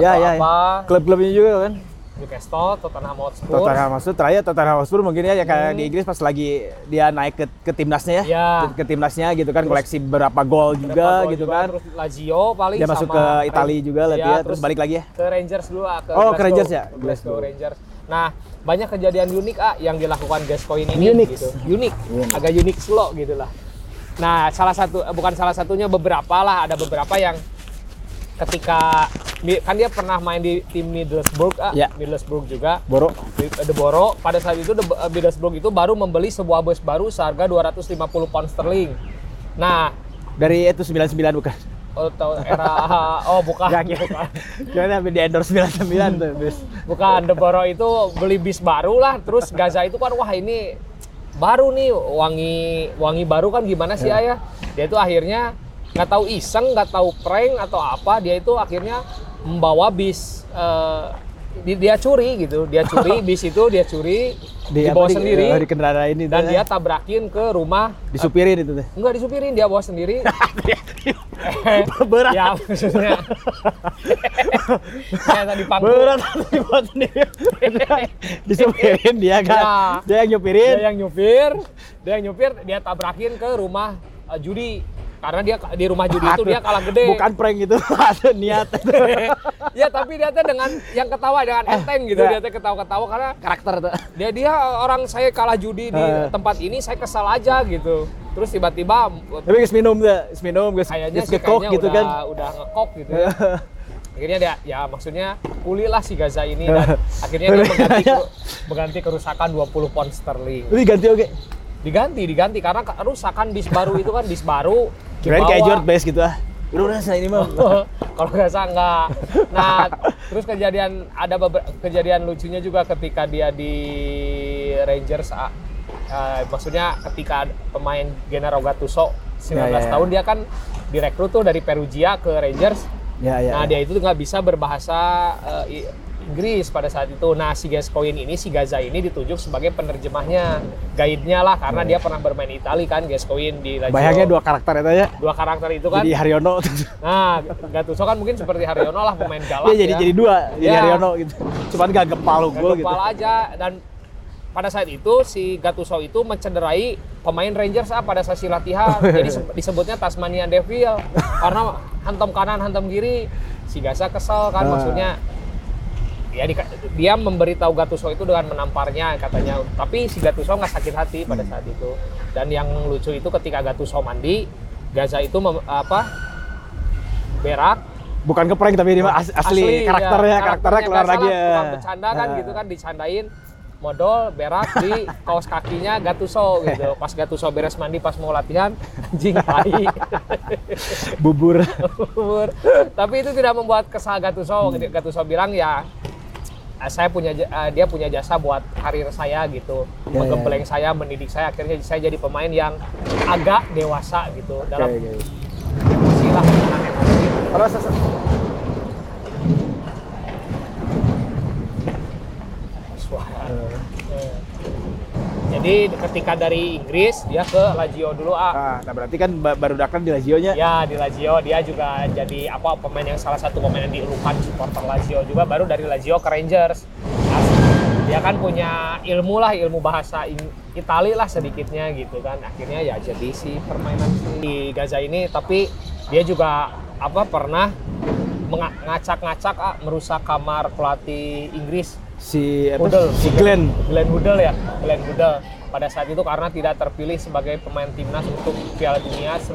C: Hmm. Ya
B: atau
C: ya.
B: apa.
C: ya. Klub-klubnya juga kan.
B: Newcastle, Tottenham Hotspur.
C: Tottenham Hotspur terakhir Tottenham Hotspur mungkin ya, ya kayak di Inggris pas lagi dia naik ke, ke timnasnya ya.
B: Hmm. Ya.
C: Ke, ke timnasnya gitu kan koleksi berapa gol juga
B: Liverpool
C: gitu
B: juga,
C: kan.
B: Terus Lazio paling
C: Dia masuk ke
B: sama-
C: Italia juga lah
B: Iya,
C: dia terus balik lagi ya.
B: ke Rangers dulu ah ke
C: Oh, ke
B: Glasgow.
C: Rangers ya?
B: Ke
C: Glasgow.
B: Glasgow Rangers nah banyak kejadian unik ah yang dilakukan Gascoigne ini
C: Unik.
B: gitu unik agak unik slow gitu lah nah salah satu eh, bukan salah satunya beberapa lah ada beberapa yang ketika kan dia pernah main di tim Middlesbrough ah
C: Ya.
B: Middlesbrough juga
C: Borok.
B: Deboro pada saat itu De- eh, Middlesbrough itu baru membeli sebuah bus baru seharga 250 pound sterling nah
C: Dari itu 99
B: [LAUGHS]
C: bukan.
B: atau era [LAUGHS] oh bukan
C: Gak kira.
B: bukan
C: Kira sampai di endorse 99 tuh bis.
B: Bukan Deboro itu beli bis baru lah, terus Gaza itu kan wah ini baru nih wangi wangi baru kan gimana sih
C: Iya.
B: ayah? Dia itu akhirnya nggak tahu iseng, nggak tahu prank atau apa, dia itu akhirnya membawa bis eh, di- dia curi gitu, dia
C: [LAUGHS]
B: curi bis itu dia curi
C: Di-
B: dibawa
C: apa, di-
B: sendiri
C: di kendaraan ini
B: dan
C: tuh,
B: dia tabrakin ke rumah
C: disupirin itu tuh.
B: [LAUGHS] Enggak disupirin, dia bawa
C: [LAUGHS]
B: sendiri.
C: Berat.
B: Ya maksudnya.
C: [LAUGHS]
B: Kayak tadi pangku.
C: Berat [LAUGHS] hati buat
B: [LAUGHS]
C: sendiri. Disupirin dia kan.
B: Ya.
C: Dia yang nyupirin.
B: Dia yang nyupir, dia yang nyupir, dia tabrakin ke rumah eh, judi. Karena dia di rumah judi itu dia kalah gede.
C: Bukan prank gitu, [LAUGHS] ada niat.
B: [LAUGHS] ya tapi dia teh dengan yang ketawa dengan enteng gitu
C: ya.
B: dia teh ketawa-ketawa karena
C: Karakter tuh.
B: dia dia eh, orang saya kalah judi di
C: Eh.
B: tempat ini saya kesal aja gitu. Terus tiba-tiba
C: Tapi guys minum tuh, guys minum, guys
B: kayaknya
C: guys
B: sih
C: kekok
B: kayaknya
C: gitu
B: udah,
C: kan. Eh.
B: udah ngekok gitu ya. [LAUGHS] akhirnya dia ya maksudnya pulih lah si Gaza ini
C: Eh.
B: dan akhirnya dia mengganti keru- mengganti kerusakan 20 pound sterling
C: Ini ganti oke.
B: diganti diganti karena kerusakan bis baru itu kan bis baru
C: Kirain
B: dibawa.
C: kayak George
B: [LAUGHS]
C: Best gitu ah. Udah udah saya ini mah.
B: Oh. kalau nggak salah nggak nah terus kejadian ada beber- kejadian lucunya juga ketika dia di Rangers ah, eh, maksudnya ketika pemain Gennaro Gattuso 19
C: Ya, ya, ya.
B: tahun dia kan direkrut tuh dari Perugia ke Rangers
C: Ya, ya,
B: nah
C: ya.
B: dia itu nggak bisa berbahasa eh, I- Inggris pada saat itu. Nah si Gascoigne ini, si Gaza ini ditunjuk sebagai penerjemahnya, guide-nya lah karena dia pernah bermain Itali kan Gascoigne di Lazio.
C: Iya. Bayangnya dua karakter itu ya.
B: Dua karakter itu kan.
C: Jadi
B: [LAUGHS]
C: Haryono.
B: Nah Gattuso kan mungkin seperti Haryono lah pemain galak
C: Dia Iya, jadi
B: ya.
C: jadi dua, jadi
B: Ya.
C: Haryono gitu. Cuman gak gempal
B: Nggak
C: gua gitu.
B: kepala aja dan pada saat itu si Gattuso itu mencederai pemain Rangers ah, pada sesi latihan
C: [LAUGHS]
B: jadi se- disebutnya Tasmanian Devil karena hantam kanan hantam kiri si Gaza kesel kan
C: Ah.
B: maksudnya ya dika- dia memberitahu Gattuso itu dengan menamparnya katanya tapi si Gattuso nggak sakit hati pada
C: Hmm.
B: saat itu dan yang lucu itu ketika Gattuso mandi Gaza itu mem- apa berak
C: Bukan keprank tapi ini mah as- asli,
B: ya.
C: karakternya, karakternya keluar
B: nggak
C: lagi
B: salah,
C: ya.
B: tukang bercanda kan
C: Nah.
B: gitu kan dicandain modal berak di kaos kakinya Gattuso gitu pas Gattuso beres mandi pas mau latihan anjing tai [LAUGHS]
C: Bubur.
B: Bubur. tapi itu tidak membuat kesal
C: Hmm.
B: Gattuso Gattuso bilang ya "Ah, saya punya ja- ah, dia punya jasa buat karir saya gitu
C: Ya,
B: menggembleng saya mendidik saya akhirnya saya jadi pemain yang agak dewasa gitu dalam
C: Oke, oke.
B: posisi lah mengenang emosi.
C: Terus, terus, terus.
B: suara. Eh. Jadi ketika dari Inggris dia ke Lazio dulu
C: Ah,
B: ah.
C: nah berarti kan ba- baru dakan di Lazio-nya.
B: Ya di Lazio dia juga jadi apa pemain yang salah satu pemain yang dilupakan supporter Lazio juga baru dari Lazio ke Rangers. Nah, dia kan punya ilmu lah ilmu bahasa Ing- Itali lah sedikitnya gitu kan. Akhirnya ya jadi si permainan si- di Gaza ini tapi dia juga apa pernah menga- ngacak-ngacak ah, merusak kamar pelatih Inggris
C: Si apa?
B: Udel.
C: Si Glenn.
B: Glenn Hoddle ya, Glenn Hoddle pada saat itu karena tidak terpilih sebagai pemain timnas untuk Piala Dunia 9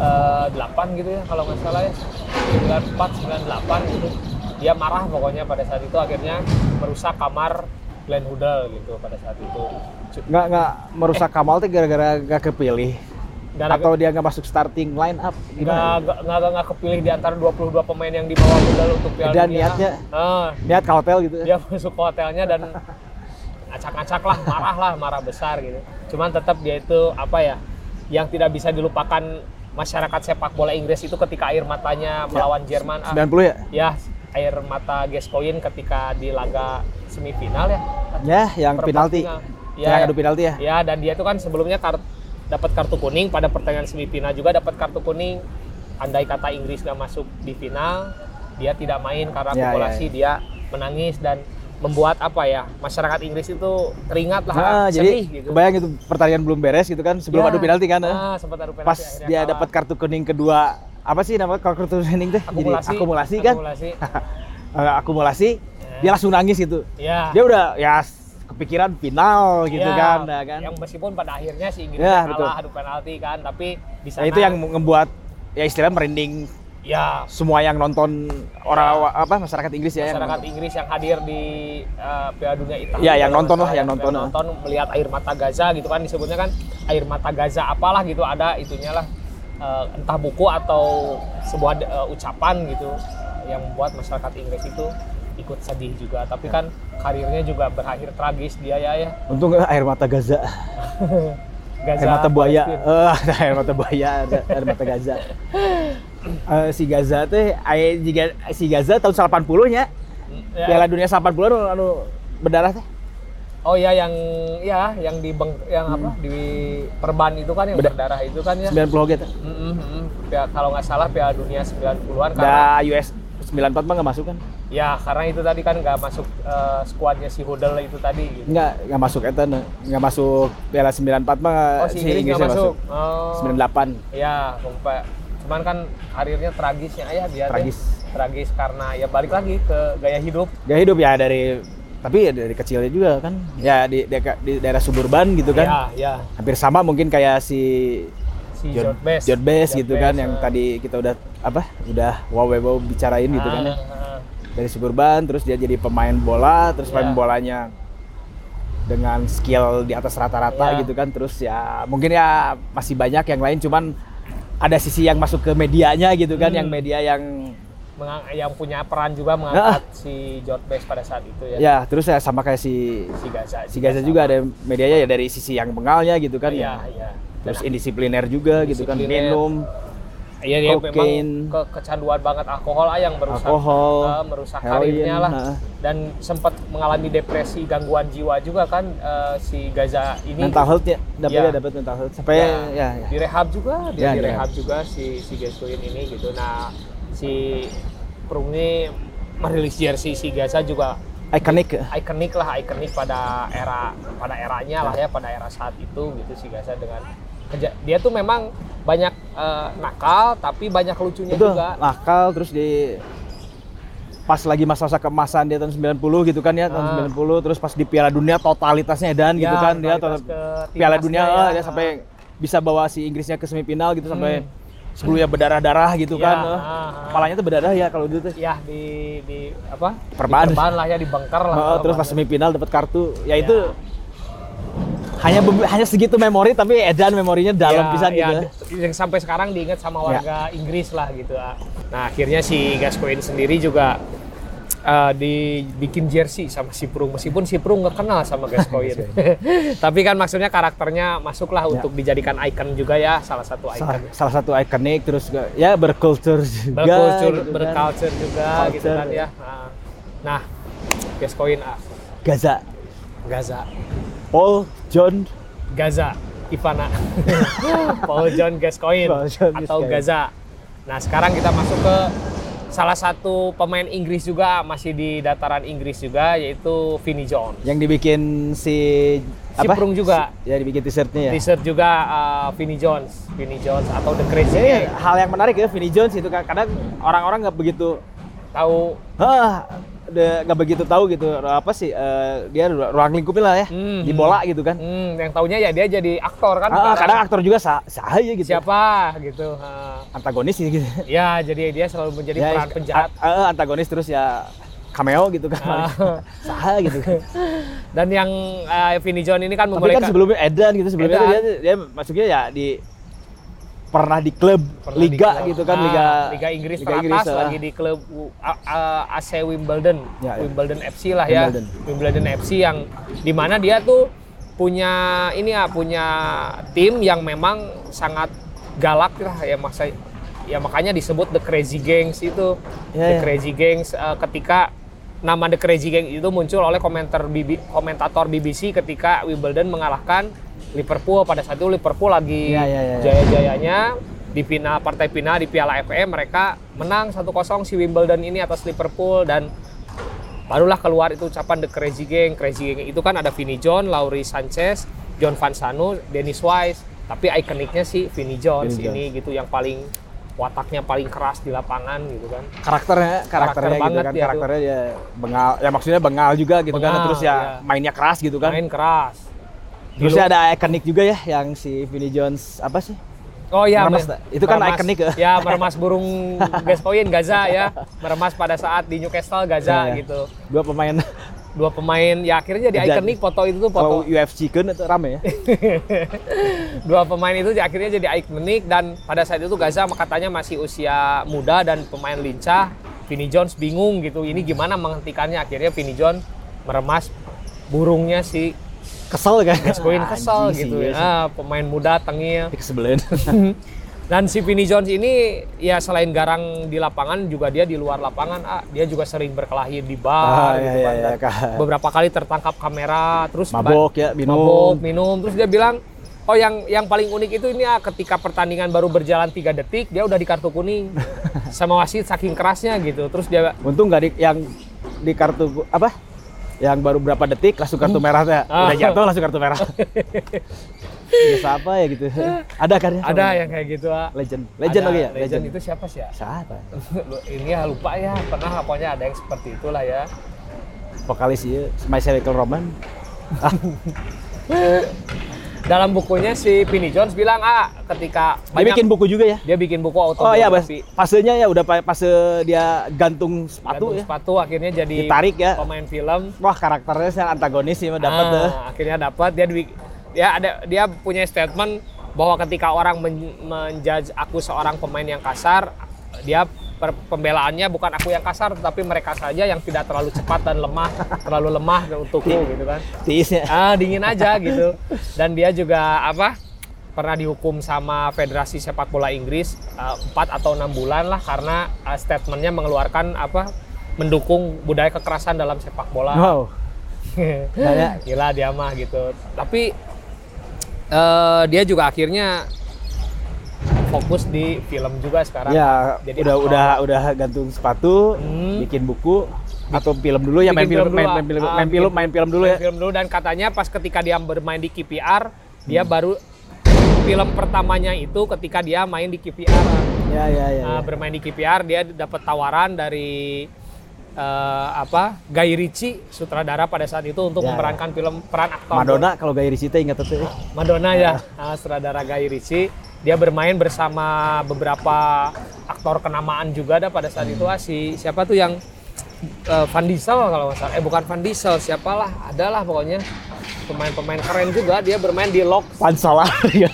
B: eh, 8 gitu ya kalau nggak salah ya 94 98 gitu dia marah pokoknya pada saat itu akhirnya merusak kamar Glenn Hoddle gitu pada saat itu Cu-
C: Nggak nggak
B: Eh.
C: merusak Kamal tuh gara-gara gak kepilih.
B: gara-
C: Atau dia nggak masuk starting line up
B: nggak
C: gimana?
B: nggak- nggak nggak kepilih di antara 22 pemain yang dibawa Hoddle untuk Piala
C: Dan
B: Dunia
C: niatnya?
B: Eh,
C: Niat ke hotel gitu.
B: dia masuk ke hotelnya dan acak-acak lah marah lah marah besar gitu cuman tetap dia itu apa ya yang tidak bisa dilupakan masyarakat sepak bola Inggris itu ketika
C: Ya.
B: air matanya melawan Jerman ah,
C: 90 ya?
B: ya air mata Gascoigne ketika di laga semifinal ya
C: Ya, yang
B: Perempat
C: penalti.
B: final. Ya,
C: Yang
B: ya.
C: adu penalti ya.
B: ya dan dia itu kan sebelumnya kar- dapat kartu kuning pada pertandingan semifinal juga dapat kartu kuning andai kata Inggris nggak masuk di final dia tidak main karena
C: Ya,
B: akumulasi dia menangis dan membuat apa ya masyarakat Inggris itu teringat lah
C: Nah, jadi
B: sedih gitu
C: kebayang itu pertandingan belum beres gitu kan sebelum
B: Ya.
C: adu penalti kan. eh.
B: Ah, sempat adu penalti,
C: Pas
B: akhirnya
C: dia
B: kalah.
C: dapat kartu kuning kedua apa sih namanya kalau kartu kuning teh? Jadi
B: akumulasi
C: akumulasi kan. [LAUGHS]
B: akumulasi.
C: Eh, akumulasi.
B: Ya.
C: Dia langsung nangis gitu.
B: ya
C: Dia udah ya s- kepikiran final gitu
B: Ya,
C: kan, nah, kan.
B: yang meskipun pada akhirnya si Inggris
C: Ya, betul.
B: kalah adu penalti kan tapi di
C: Nah,
B: sana
C: itu yang membuat ya istilah merinding
B: ya
C: semua yang nonton orang apa masyarakat Inggris ya yang
B: Iya. masyarakat Inggris yang hadir di eh, Piala Dunia Italia.
C: Ya, yang nonton lah, yang nonton. eh.
B: nonton melihat air mata Gaza gitu kan disebutnya kan air mata Gaza apalah gitu ada itunya lah eh, entah buku atau sebuah eh, ucapan gitu yang membuat masyarakat Inggris itu ikut sedih juga. Tapi
C: Ya.
B: kan karirnya juga berakhir tragis dia ya ya.
C: untung eh, air mata Gaza,
B: Gaza
C: air mata buaya,
B: Palestina.
C: eh [LAUGHS] air mata buaya, ada air mata Gaza. Eh, si Gaza teh aya jiga- si Gaza tahun 80 nya
B: Ya.
C: Piala Dunia 80 anu, anu berdarah teh.
B: Oh ya yang ya yang di beng, yang apa di perban itu kan yang
C: Hmm. Beda-
B: berdarah itu kan ya.
C: 90 oge teh.
B: Mm, mm, mm. Ya, kalau nggak salah Piala Dunia 90-an
C: Da
B: karena
C: US 94 mah nggak masuk kan?
B: Ya, karena itu tadi kan nggak masuk eh, skuadnya si Hudel itu tadi. Gitu.
C: Enggak, enggak masuk eta nah. nggak masuk Piala 94 mah
B: Oh, si Inggris nggak
C: Inggrisnya
B: masuk. Oh.
C: 98.
B: Ya, lupa. Cuman kan karirnya tragisnya ya dia teh.
C: Tragis.
B: Tragis karena ya balik lagi ke gaya hidup.
C: Gaya hidup ya dari tapi ya dari kecilnya juga kan. Ya di, di, di daerah suburban gitu kan.
B: Ya, ya.
C: Hampir sama mungkin kayak si
B: Si
C: John
B: George Best.
C: John Baez gitu kan yang
B: eh.
C: tadi kita udah apa? Udah wow wow, wow bicarain gitu kan. ya.
B: Ah, ah, ah.
C: Dari suburban terus dia jadi pemain bola, terus
B: Iya.
C: pemain bolanya dengan skill di atas rata-rata
B: Iya.
C: gitu kan. Terus ya mungkin ya
B: Hmm.
C: masih banyak yang lain cuman ada sisi yang masuk ke medianya gitu kan, yang media yang
B: mengang- yang punya peran juga mengangkat si George Best pada saat itu ya.
C: Ah. Ya, terus saya sama kayak si
B: Si Gaza.
C: si Gaza juga ada medianya ya dari sisi yang bengalnya gitu kan ya.
B: Iya, iya.
C: Terus indisipliner juga gitu kan
B: Indisipliner.
C: minum
B: Iya, dia memang
C: Kokain.
B: ke- kecanduan banget alkohol ah yang merusak
C: Alkohol,
B: eh, merusak
C: heroin,
B: karirnya lah.
C: nah.
B: Dan sempat mengalami depresi, gangguan jiwa juga kan eh, si Gaza ini.
C: mental health ya, dapat
B: Iya.
C: ya dapat mental health sampai ya, ya, ya.
B: direhab juga,
C: Ya,
B: dia direhab
C: direhab.
B: juga si si Gascoigne ini gitu. Nah, si Prung ini merilis jersey si Gaza juga
C: ikonik.
B: ikonik lah ikonik pada era pada eranya lah ya pada era saat itu gitu si Gaza dengan keja- dia tuh memang banyak eh, nakal tapi banyak lucunya
C: Betul,
B: juga
C: nakal terus di pas lagi masa-masa keemasan dia tahun 90 gitu kan ya
B: Ah.
C: tahun 90 terus pas di Piala Dunia totalitasnya edan gitu
B: Ya,
C: kan dia
B: totalitas
C: total-
B: ke
C: Piala
B: timnasnya
C: Dunia
B: ya.
C: eh, dia sampai bisa bawa si Inggrisnya ke semifinal gitu sampai sebelumnya berdarah-darah gitu
B: Ya,
C: kan
B: Hmm.
C: eh.
B: ah, ah.
C: kepalanya tuh berdarah ya kalau dulu tuh
B: ya di di apa
C: Perban.
B: Di lah ya di bengkar lah
C: Eh, terus pas
B: perban.
C: semifinal dapat kartu ya itu
B: Iya.
C: hanya be- hanya segitu memori tapi edan memorinya dalam
B: Ya,
C: pisan
B: ya,
C: gitu Iya.
B: yang sampai sekarang diingat sama warga Inggris lah gitu ah. nah akhirnya si Gascoigne sendiri juga eh, dibikin jersey sama si Prung meskipun si Prung nggak kenal
C: [LAUGHS]
B: sama Gascoigne
C: Iya.
B: [LAUGHS] tapi kan maksudnya karakternya masuklah untuk dijadikan icon juga ya salah satu
C: salah,
B: icon
C: salah satu ikonik terus juga, ya berkultur juga
B: berkultur
C: gitu kan.
B: berculture juga gitu
C: Culture,
B: kan ya
C: ya.
B: Ah. nah Gascoigne ah.
C: Gaza
B: Gaza
C: Paul John
B: Gaza Ivana [LAUGHS] Paul John Gascoigne
C: Paul John
B: atau
C: Gascoigne.
B: Gaza. Nah, sekarang kita masuk ke salah satu pemain Inggris juga masih di dataran Inggris juga yaitu Vinnie Jones.
C: yang dibikin si
B: Si Prung juga.
C: Si- ya dibikin t-shirtnya ya.
B: T-shirt juga uh, Vinnie Jones, Vinnie Jones atau The Crazy.
C: Ini
B: Eight.
C: hal yang menarik ya Vinnie Jones itu kan kadang orang-orang nggak begitu
B: Tahu
C: ah de- nggak begitu tahu gitu apa sih eh, dia ru- ruang lingkupnya lah ya
B: Hmm.
C: di bola gitu kan.
B: hmm, yang taunya ya dia jadi aktor kan.
C: Ah,
B: bukan
C: kadang aktor juga sah sah aja gitu.
B: siapa gitu. ha.
C: Antagonis sih gitu.
B: ya, jadi dia selalu menjadi
C: Ya,
B: peran penjahat.
C: a- eh, antagonis terus ya cameo gitu kan. [LAUGHS]
B: Ah.
C: sah gitu kan.
B: Dan yang uh, Vinnie Jones ini kan
C: Tapi
B: memulai
C: kan sebelumnya Edan gitu sebelumnya
B: Edan.
C: dia dia masuknya ya di pernah di klub
B: Pernah
C: liga
B: di klub.
C: gitu kan
B: Ah,
C: liga
B: Liga Inggris
C: Liga
B: teratas
C: Inggris, ah.
B: lagi di klub U- A- A- AC Wimbledon
C: Ya, ya.
B: Wimbledon FC lah ya
C: Wimbledon.
B: Wimbledon FC yang dimana dia tuh punya ini ya punya tim yang memang sangat galak lah ya masa ya makanya disebut the crazy gangs itu the
C: Ya, ya.
B: crazy gangs eh, ketika nama the crazy gang itu muncul oleh komentar BB komentator BBC ketika Wimbledon mengalahkan Liverpool pada saat itu Liverpool lagi
C: Ya, ya, ya, ya.
B: jaya-jayanya di final partai final di Piala FA mereka menang 1-0 si Wimbledon ini atas Liverpool dan barulah keluar itu ucapan The Crazy Gang. Crazy Gang itu kan ada Vinnie John, Laurie Sanchez, John Van Sano, Dennis Wise. Tapi ikoniknya si Vinnie Jones
C: Vinnie
B: ini gitu yang paling wataknya paling keras di lapangan gitu kan.
C: karakternya karakternya gitu
B: banget
C: kan
B: dia tuh.
C: karakternya ya bengal ya maksudnya bengal juga gitu kan
B: Bengal,
C: terus ya
B: iya.
C: mainnya keras gitu kan
B: Main keras. Di
C: terus ya
B: lu-
C: ada ikonik juga ya yang si Vinnie Jones apa sih
B: Oh iya,
C: meremas,
B: mer-
C: itu kan
B: meremas.
C: ikonik ya.
B: Ya, meremas burung Gascoigne Gaza ya. Meremas pada saat di Newcastle
C: Ya,
B: Gaza
C: ya.
B: gitu.
C: dua pemain [LAUGHS]
B: Dua pemain ya akhirnya jadi
C: Jadi-
B: ikonik foto itu tuh
C: kalau
B: foto
C: UFC kan itu
B: [LAUGHS]
C: rame ya
B: dua pemain itu akhirnya jadi ikonik dan pada saat itu Gaza katanya masih usia muda dan pemain lincah. Vinnie Jones bingung gitu. Ini gimana menghentikannya? Akhirnya Vinnie Jones meremas burungnya si
C: kesel kan
B: Gascoigne kesel
C: Anjing sih,
B: gitu.
C: iya
B: ya.
C: sih.
B: Ah, pemain muda tengil.
C: Tapi
B: [LAUGHS]
C: kesebelin
B: Dan si Vinnie Jones ini ya selain garang di lapangan juga dia di luar lapangan ah, dia juga sering berkelahi di bar
C: Ah,
B: gitu
C: iya,
B: kan.
C: iya,
B: Dan
C: iya, Kak.
B: beberapa kali tertangkap kamera terus
C: Mabok
B: ba-
C: ya, minum.
B: mabok, minum terus dia bilang oh yang yang paling unik itu ini ah, ketika pertandingan baru berjalan tiga detik dia udah di
C: [LAUGHS]
B: kartu kuning sama wasit saking kerasnya gitu terus dia
C: untung nggak di yang di kartu apa yang baru berapa detik langsung kartu merah ya.
B: Ah.
C: udah jatuh langsung kartu
B: [LAUGHS]
C: merah biasa apa ya gitu ada kan ya sama-
B: ada yang kayak gitu ah.
C: legend legend
B: Ada
C: lagi ya
B: legend, itu siapa sih ya [LAUGHS]
C: siapa
B: Lu- ini ya lupa ya pernah pokoknya ada yang seperti itulah ya
C: vokalis iya My Chemical Roman
B: dalam bukunya si Vinnie Jones bilang ah ketika
C: dia bikin buku juga ya
B: dia bikin buku
C: oh iya bas
B: autobiografi
C: pasenya ya udah pa- fase dia gantung sepatu
B: Gantung
C: ya
B: sepatu akhirnya jadi
C: Ditarik ya.
B: pemain film
C: wah karakternya sangat antagonis sih dapat
B: Ah,
C: tuh
B: akhirnya dapat dia di- dia ada dia punya statement bahwa ketika orang men, menjudge aku seorang pemain yang kasar dia eh, per- pembelaannya bukan aku yang kasar, tapi mereka saja yang tidak terlalu cepat dan lemah, [LAUGHS] terlalu lemah untukku gitu kan.
C: tiisnya
B: Ah, dingin aja gitu. Dan dia juga apa? Pernah dihukum sama Federasi Sepak Bola Inggris eh, empat atau enam bulan lah karena eh, statementnya mengeluarkan apa? mendukung budaya kekerasan dalam sepak bola.
C: [LAUGHS]
B: [LAUGHS]
C: wow Banyak.
B: Gila dia mah gitu. Tapi eh, dia juga akhirnya fokus di film juga sekarang.
C: ya
B: Jadi
C: udah
B: aktor.
C: udah udah gantung sepatu
B: Hmm.
C: bikin buku atau film dulu ya main
B: Bikin
C: film, main,
B: dulu,
C: main film
B: ah,
C: main
B: bikin
C: film main film dulu
B: Main
C: ya
B: Film dulu dan katanya pas ketika dia bermain di KPR, dia baru film pertamanya itu ketika dia main di KPR.
C: ya ya ya,
B: Nah,
C: ya.
B: bermain di KPR dia dapat tawaran dari eh, apa? Guy Ritchie, sutradara pada saat itu untuk
C: Ya, ya.
B: memerankan film peran aktor.
C: Madonna kalau gaya Risita ingat itu ya.
B: Madonna ya, Ah, sutradara Guy Ritchie. Dia bermain bersama beberapa aktor kenamaan juga ada pada saat itu ah, si siapa tuh yang eh, Van Diesel kalau nggak salah. Eh bukan Van Diesel, siapalah, adalah pokoknya pemain-pemain keren juga. Dia bermain di Lock.
C: Pan Solar [LAUGHS] ya.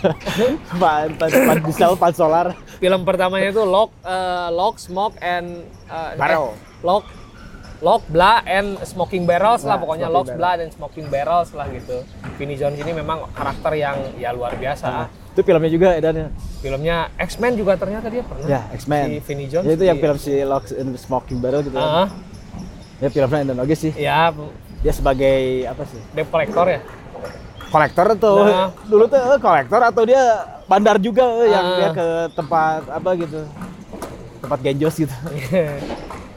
C: Pan Pan Pan Diesel, Pan Solar.
B: Film pertamanya itu Lock, eh, Lock, Smoke and eh,
C: Barrel.
B: eh, Lock, Lock, Bla and Smoking Barrels lah
C: Nah,
B: pokoknya
C: Smoking
B: Lock, Bla dan Smoking Barrels lah gitu. Vinnie Jones ini memang karakter yang ya luar biasa. ah.
C: Itu filmnya juga Edan ya.
B: filmnya X-Men juga ternyata dia pernah
C: Ya, X-Men.
B: si Vinnie Jones
C: Ya, itu yang
B: di-
C: film si Locks and Smoking Barrel gitu. kan.
B: Ah,
C: Ya filmnya Edan Oge sih.
B: ya
C: Dia sebagai apa sih?
B: debt collector ya [LAUGHS]
C: Kolektor tuh.
B: Nah.
C: Dulu tuh eh, kolektor atau dia bandar juga eh, yang
B: Ah.
C: dia ke tempat apa gitu. Tempat genjos gitu.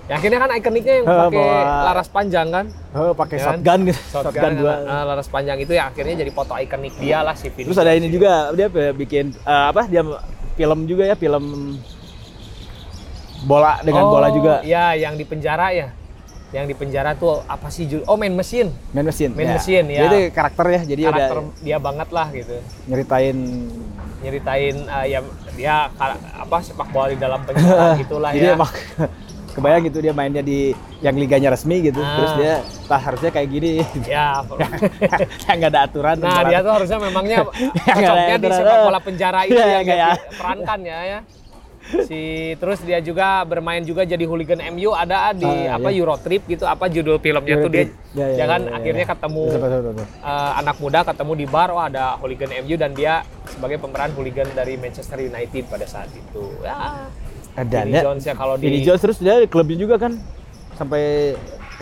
B: ya akhirnya kan ikoniknya yang
C: Eh,
B: pakai
C: bawa-
B: laras panjang kan
C: Oh, pakai
B: Ya kan?
C: shotgun gitu. Shotgun, dua.
B: kan, ah, laras panjang itu yang akhirnya jadi foto ikonik dia lah si Vinnie
C: Terus ada ini juga dia pe- bikin eh, apa? Dia film juga ya, film bola dengan bola
B: Oh,
C: juga.
B: ya yang di penjara ya yang di penjara tuh apa sih ju- oh main mesin
C: Man Machine.
B: Man Machine, ya.
C: Jadi karakter ya, jadi
B: karakter
C: udah
B: dia banget lah gitu
C: nyeritain
B: nyeritain ah, ya dia kar- apa sepak bola di dalam
C: [LAUGHS]
B: penjara gitulah
C: jadi
B: ya
C: emang kebayang gitu dia mainnya di yang liganya resmi gitu.
B: Ah.
C: Terus dia tah harusnya kayak gini. [LAUGHS]
B: ya
C: yang nggak ada aturan.
B: Nah,
C: pembalap.
B: dia tuh harusnya memangnya
C: [LAUGHS] Yang
B: cocoknya di
C: kayak
B: sepak
C: Ederer.
B: bola penjara itu
C: Iya,
B: yang dia
C: kayak-
B: perankan ya ya. Si terus dia juga bermain juga jadi hooligan MU ada ah, di
C: Ah,
B: apa
C: iya.
B: Eurotrip gitu apa judul filmnya tuh dia
C: Iya, iya, iya,
B: dia kan
C: iya, iya.
B: akhirnya ketemu
C: Betul, betul, betul.
B: eh, anak muda ketemu di bar wah ada hooligan MU dan dia sebagai pemeran hooligan dari Manchester United pada saat itu. Ya.
C: Ada ya.
B: Vinnie Jones ya kalau di-
C: Vinnie Jones terus dia di klubnya juga kan sampai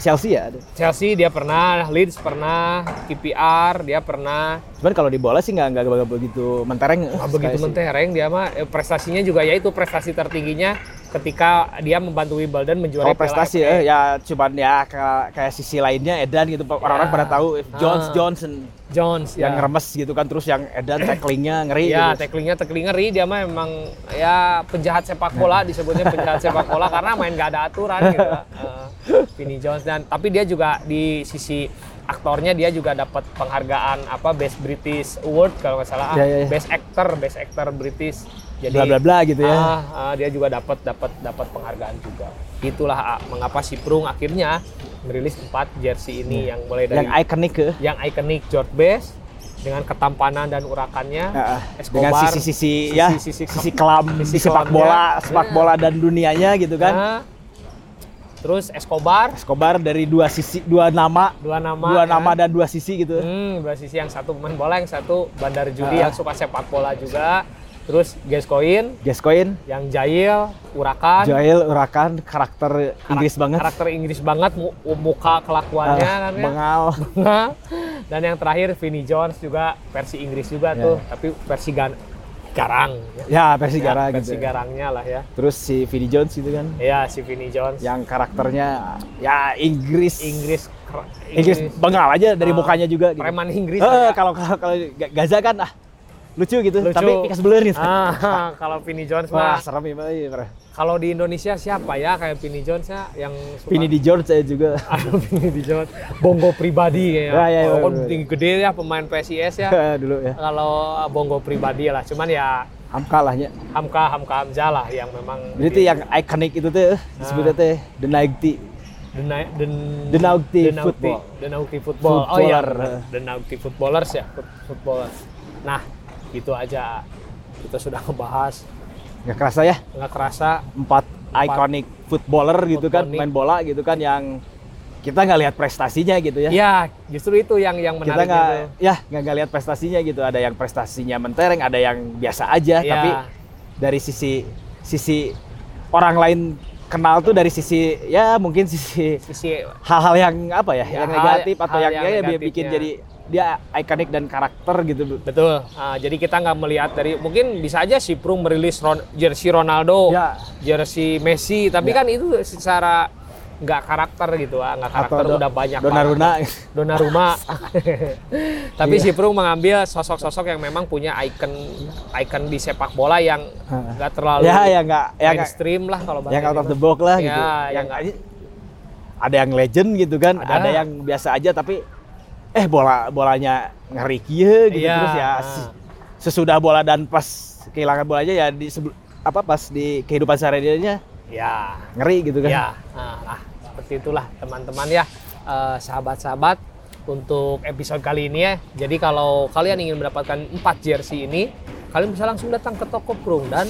C: Chelsea ya. ada.
B: Chelsea dia pernah, Leeds pernah, KPR dia pernah.
C: Cuman kalau di bola sih nggak nggak nggak begitu mentereng.
B: Nah, begitu mentereng dia mah eh, prestasinya juga yaitu prestasi tertingginya ketika dia membantu Wimbledon menjuarai
C: Kalau prestasi
B: Piala FA.
C: eh, ya cuman ya kayak, kayak sisi lainnya Edan gitu orang-orang
B: Ya.
C: pada tahu eh, Jones
B: Ah.
C: Johnson
B: Jones ya.
C: yang remes gitu kan terus yang Edan tacklingnya ngeri
B: Ya,
C: gitu.
B: tacklingnya tackling ngeri dia mah memang ya penjahat sepak
C: Nah.
B: bola disebutnya penjahat sepak
C: [LAUGHS]
B: bola karena main gak ada aturan gitu. Eh, Vinnie Jones dan tapi dia juga di sisi aktornya dia juga dapat penghargaan apa Best British Award kalau nggak salah, ah,
C: Ya, ya, ya.
B: Best Actor, Best Actor British. Jadi
C: bla bla bla gitu ya.
B: Ah, ah, dia juga dapat dapat dapat penghargaan juga. Itulah ah, mengapa si Prung akhirnya merilis empat jersey ini yang mulai
C: Ya.
B: dari
C: yang ya. ikonik ke
B: yang ikonik George Best dengan ketampanan dan urakannya
C: Ya, Ah, dengan
B: Escobar,
C: sisi-sisi ya
B: sisi-sisi
C: sisi, kelam
B: sisi
C: di sepak
B: kelamnya.
C: bola sepak
B: Ya.
C: bola dan dunianya gitu kan
B: Nah, terus Escobar
C: Escobar dari dua sisi dua nama
B: dua nama
C: dua
B: ya.
C: nama dan dua sisi gitu
B: Hmm, dua sisi yang satu pemain bola yang satu bandar judi
C: Ah.
B: yang suka sepak bola juga terus Gascoigne
C: Gascoigne
B: yang jahil urakan
C: Joel Urakan karakter
B: Kan. karak-
C: Inggris banget
B: karakter Inggris banget mu-
C: Ah,
B: muka kelakuannya kan ya.
C: bengal
B: Nah, [LAUGHS] dan yang terakhir Vinnie Jones juga versi Inggris juga
C: Ya.
B: tuh, tapi versi gan- garang. Ya,
C: ya versi Gara
B: versi
C: gitu
B: garangnya lah ya.
C: terus si Vinnie Jones gitu kan
B: Ya si Vinnie Jones.
C: yang karakternya ya Inggris
B: Inggris ker-
C: Inggris bengal aja dari
B: Ah,
C: mukanya juga gitu.
B: preman Inggris. ya.
C: Eh,
B: agak
C: kalau kalau kalau Gaza kan ah lucu gitu
B: lucu.
C: tapi pikas blur gitu.
B: Ah, [LAUGHS] kalau Vinnie Jones
C: Wah,
B: mah
C: serem ya, Pak. Iya, parah.
B: kalau di Indonesia siapa ya kayak Vinnie Jones ya yang suka
C: Pini di George saya juga.
B: [LAUGHS] Aduh, Vinnie di Jones. Bongo pribadi kayaknya.
C: Ya, ya, ya,
B: Walaupun
C: bener.
B: tinggi gede ya pemain PSIS
C: [LAUGHS]
B: ya.
C: dulu ya.
B: kalau Bongo pribadi lah, cuman ya
C: Hamka lahnya.
B: Hamka Hamka Hamzah lah yang memang
C: Jadi tuh yang ikonik itu tuh
B: Ah.
C: disebutnya teh The Nighty.
B: The, Na- the,
C: The Naughty Football.
B: The Naughty Football. Oh iya,
C: Footballer.
B: benar. The Naughty Footballers ya, foot- footballers. Nah, gitu aja. Kita sudah ngebahas
C: nggak kerasa ya
B: nggak kerasa
C: empat iconic footballer gitu kan
B: Iconic.
C: main bola gitu kan yang kita nggak lihat prestasinya gitu ya
B: ya justru itu yang yang
C: kita
B: menarik
C: nggak
B: gitu.
C: ya nggak nggak lihat prestasinya gitu ada yang prestasinya mentereng ada yang biasa aja
B: Ya.
C: tapi dari sisi sisi orang lain kenal tuh dari sisi ya mungkin sisi
B: sisi
C: hal-hal yang apa ya,
B: Ya,
C: yang
B: hal-
C: negatif atau yang,
B: hal yang
C: ya, dia
B: negatifnya.
C: bikin jadi dia ikonik dan karakter gitu Bu.
B: betul Ah, jadi kita nggak melihat dari mungkin bisa aja si Prung merilis Ron- jersey Ronaldo
C: Ya.
B: jersey Messi tapi
C: Ya.
B: kan itu secara nggak karakter gitu ah nggak karakter
C: do-
B: udah banyak banget.
C: Donnarumma [LAUGHS]
B: Donnarumma. Tapi
C: Iya.
B: si Prung mengambil sosok-sosok yang memang punya icon icon di sepak bola yang
C: Heeh.
B: nggak terlalu
C: [LAUGHS] ya yang nggak yang nggak-
B: mainstream lah kalau bahasa
C: yang out of
B: gitu.
C: the box lah
B: Ya,
C: gitu.
B: yang
C: Yang
B: nggak-
C: ada yang legend gitu kan,
B: Ada.
C: ada, yang biasa aja tapi eh bola bolanya ngeri kieu gitu
B: Iya.
C: terus ya se- sesudah bola dan pas kehilangan bolanya ya di sebel- apa pas di kehidupan sehari-harinya
B: ya
C: ngeri gitu kan.
B: ya nah, lah, seperti itulah teman-teman ya Eh, sahabat-sahabat untuk episode kali ini ya jadi kalau kalian ingin mendapatkan 4 jersey ini kalian bisa langsung datang ke toko Prung dan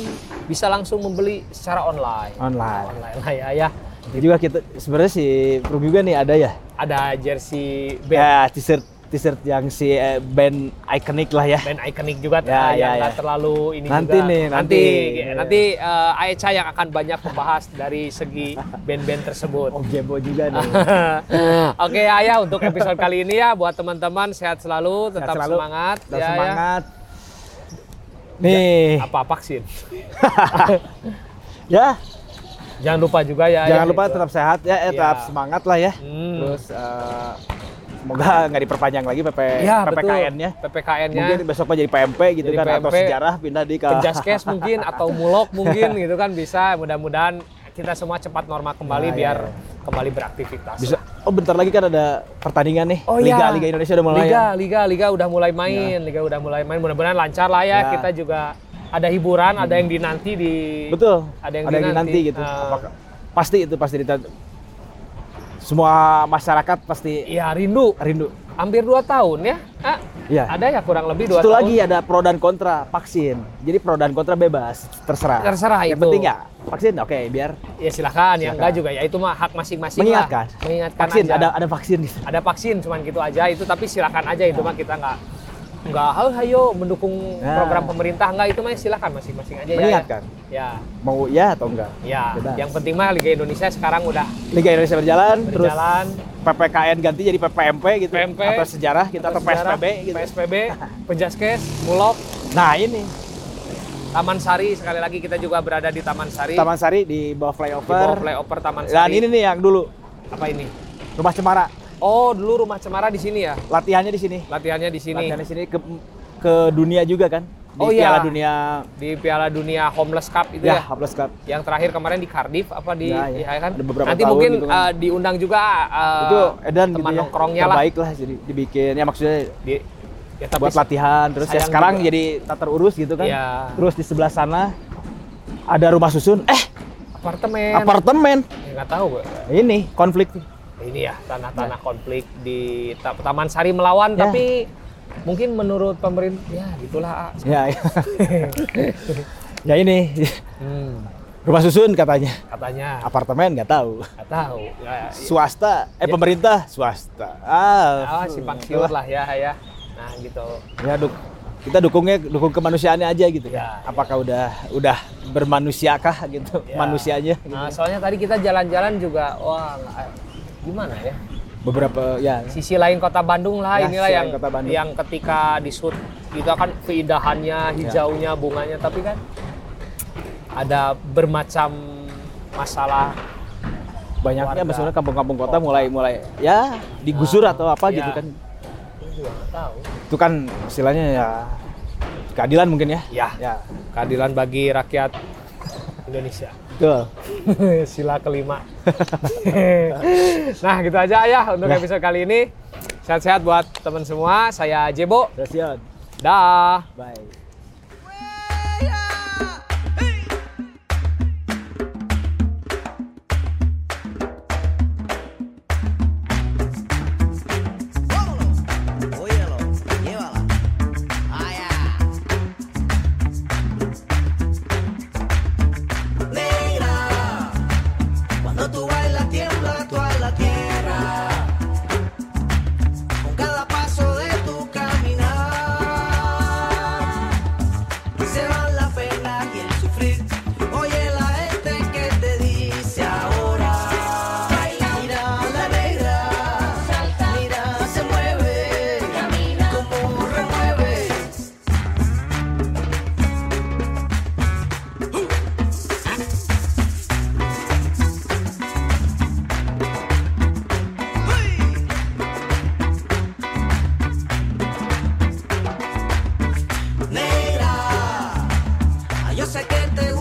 B: bisa langsung membeli secara online
C: Online.
B: online lah ya ya
C: Ini juga kita sebenarnya si Prung juga nih ada ya.
B: ada jersey band
C: Ya t-shirt t-shirt yang si eh, band ikonik lah ya. [LAUGHS]
B: band ikonik juga
C: Ya,
B: ya,
C: ya,
B: yang nggak
C: ya.
B: terlalu ini
C: Nanti
B: juga.
C: nih,
B: nanti
C: nanti.
B: ya, nanti eh, Aecha yang akan banyak membahas dari segi band-band
C: [LAUGHS]
B: tersebut.
C: Oh Jebo juga nih.
B: Ah. Oke Ayah untuk episode kali ini ya buat teman-teman sehat selalu,
C: Sehat
B: tetap
C: selalu,
B: semangat
C: tetap
B: ya, ya.
C: semangat. Nih,
B: Apa vaksin?
C: ya
B: Jangan lupa juga ya.
C: jangan
B: ya,
C: lupa
B: gitu.
C: tetap sehat ya, eh, tetap
B: Iya, Iya.
C: semangat lah ya.
B: Hmm.
C: Terus eh, semoga nggak diperpanjang lagi PP,
B: ya,
C: PPKN-nya.
B: betul. PPKN-nya.
C: Mungkin besoknya jadi PMP gitu
B: Jadi
C: kan atau
B: PMP,
C: sejarah pindah di ke
B: Penjaskes mungkin atau mulok mungkin gitu kan bisa. Mudah-mudahan kita semua cepat normal
C: Ya,
B: kembali
C: ya,
B: biar
C: ya.
B: kembali beraktivitas.
C: [LAUGHS] Bisa. Oh bentar lagi kan ada pertandingan nih. Liga
B: iya.
C: Liga Indonesia udah mulai.
B: Liga,
C: ya.
B: Liga, Liga udah mulai
C: Iya.
B: main, Liga udah mulai main. Mudah-mudahan lancar lah ya.
C: Ya.
B: Kita juga ada hiburan, ada yang dinanti di
C: Hmm. Betul.
B: Ada yang
C: nanti,
B: dinanti,
C: gitu.
B: ah.
C: Apakah- pasti itu pasti ditan- semua masyarakat pasti
B: Iya rindu.
C: rindu.
B: Hampir 2 tahun ya. Ah,
C: Iya.
B: Ada ya kurang lebih 2
C: Satu
B: tahun.
C: lagi ada pro dan kontra vaksin. Jadi pro dan kontra bebas, terserah.
B: Terserah
C: Yang
B: itu.
C: penting ya vaksin, oke biar
B: Ya silahkan, yang
C: Silakan.
B: enggak juga ya itu mah hak masing-masing lah.
C: mengingatkan.
B: Mengingatkan
C: vaksin,
B: aja.
C: ada ada vaksin.
B: ada vaksin cuman gitu aja itu tapi silakan aja itu mah kita nggak nggak "Oh, hayo mendukung
C: Nah.
B: program pemerintah nggak itu mah silakan masing-masing aja ya,
C: Mengingatkan.
B: ya.
C: Mau ya atau enggak?
B: Ya, ya.
C: Bebas.
B: Yang penting mah Liga Indonesia sekarang udah
C: Liga Indonesia berjalan, terus
B: berjalan.
C: PPKN ganti jadi PPMP gitu
B: PMP,
C: atau sejarah gitu atau,
B: sejarah,
C: PSBB gitu.
B: PSBB, Penjaskes, Mulok,
C: Nah, ini
B: Taman Sari sekali lagi kita juga berada di Taman Sari.
C: Taman Sari di bawah
B: di bawah
C: flyover.
B: flyover Taman Sari.
C: Dan ini nih yang dulu
B: apa ini?
C: Rumah Cemara.
B: Oh, dulu rumah Cemara di sini ya.
C: Latihannya di sini.
B: Latihannya di sini.
C: Latihannya di sini ke ke dunia juga kan? Di
B: Oh, iya.
C: Piala Dunia
B: Di Piala Dunia Homeless Cup itu
C: ya,
B: ya.
C: Hopeless Cup.
B: Yang terakhir kemarin di Cardiff apa di
C: Ya, ya.
B: ya kan?
C: Ada beberapa
B: Nanti
C: tahun
B: mungkin
C: gitu kan.
B: eh, diundang juga eh,
C: itu edan
B: teman
C: gitu ya.
B: nongkrongnya lah.
C: terbaik lah. jadi dibikin ya maksudnya
B: Di- ya, tapi
C: buat latihan terus ya
B: sayang
C: sekarang
B: juga.
C: jadi tak terurus gitu kan
B: Iya.
C: terus di sebelah sana ada rumah susun eh
B: apartemen.
C: apartemen
B: Ya, nggak tahu gue.
C: ini konflik tuh.
B: ini ya tanah-tanah konflik di Ta- Taman Sari melawan
C: Ya.
B: tapi mungkin menurut pemerintah ya gitulah A.
C: ya
B: [LAUGHS]
C: ya. ya ini
B: Hmm,
C: rumah susun katanya
B: katanya
C: apartemen nggak tahu
B: nggak tahu ya,
C: swasta eh
B: Ya.
C: pemerintah swasta ah
B: ah, simpang siur lah ya ya nah gitu
C: ya duk kita dukungnya dukung kemanusiaannya aja gitu
B: Ya,
C: apakah udah udah bermanusiakah gitu
B: Ya.
C: manusianya gitu.
B: nah, soalnya tadi kita jalan-jalan juga wah nggak- eh, gimana ya
C: beberapa ya
B: sisi lain kota Bandung lah
C: Ya,
B: inilah
C: sisi
B: yang
C: lain kota Bandung.
B: yang ketika di shoot kita kan
C: Ya.
B: keindahannya hijaunya bunganya tapi kan ada bermacam masalah
C: banyaknya
B: Warga.
C: maksudnya kampung-kampung kota mulai mulai ya digusur
B: Ah,
C: atau apa
B: iya.
C: gitu kan
B: Ini juga nggak tahu
C: itu kan istilahnya ya keadilan mungkin ya
B: ya
C: ya
B: keadilan bagi rakyat Indonesia.
C: betul
B: [LAUGHS] Sila kelima. [LAUGHS] nah, gitu aja ya untuk
C: Ya.
B: episode kali ini. Sehat-sehat buat teman semua. Saya Jebo.
C: Tersiun.
B: Dah.
C: bye
A: Óyelo, llévala. Allá.
D: se va la pena y el sufrir. Oye la gente que te dice ahora. Mira la negra, mira se mueve, como remueve. Negra, Ah, yo sé que te gusta.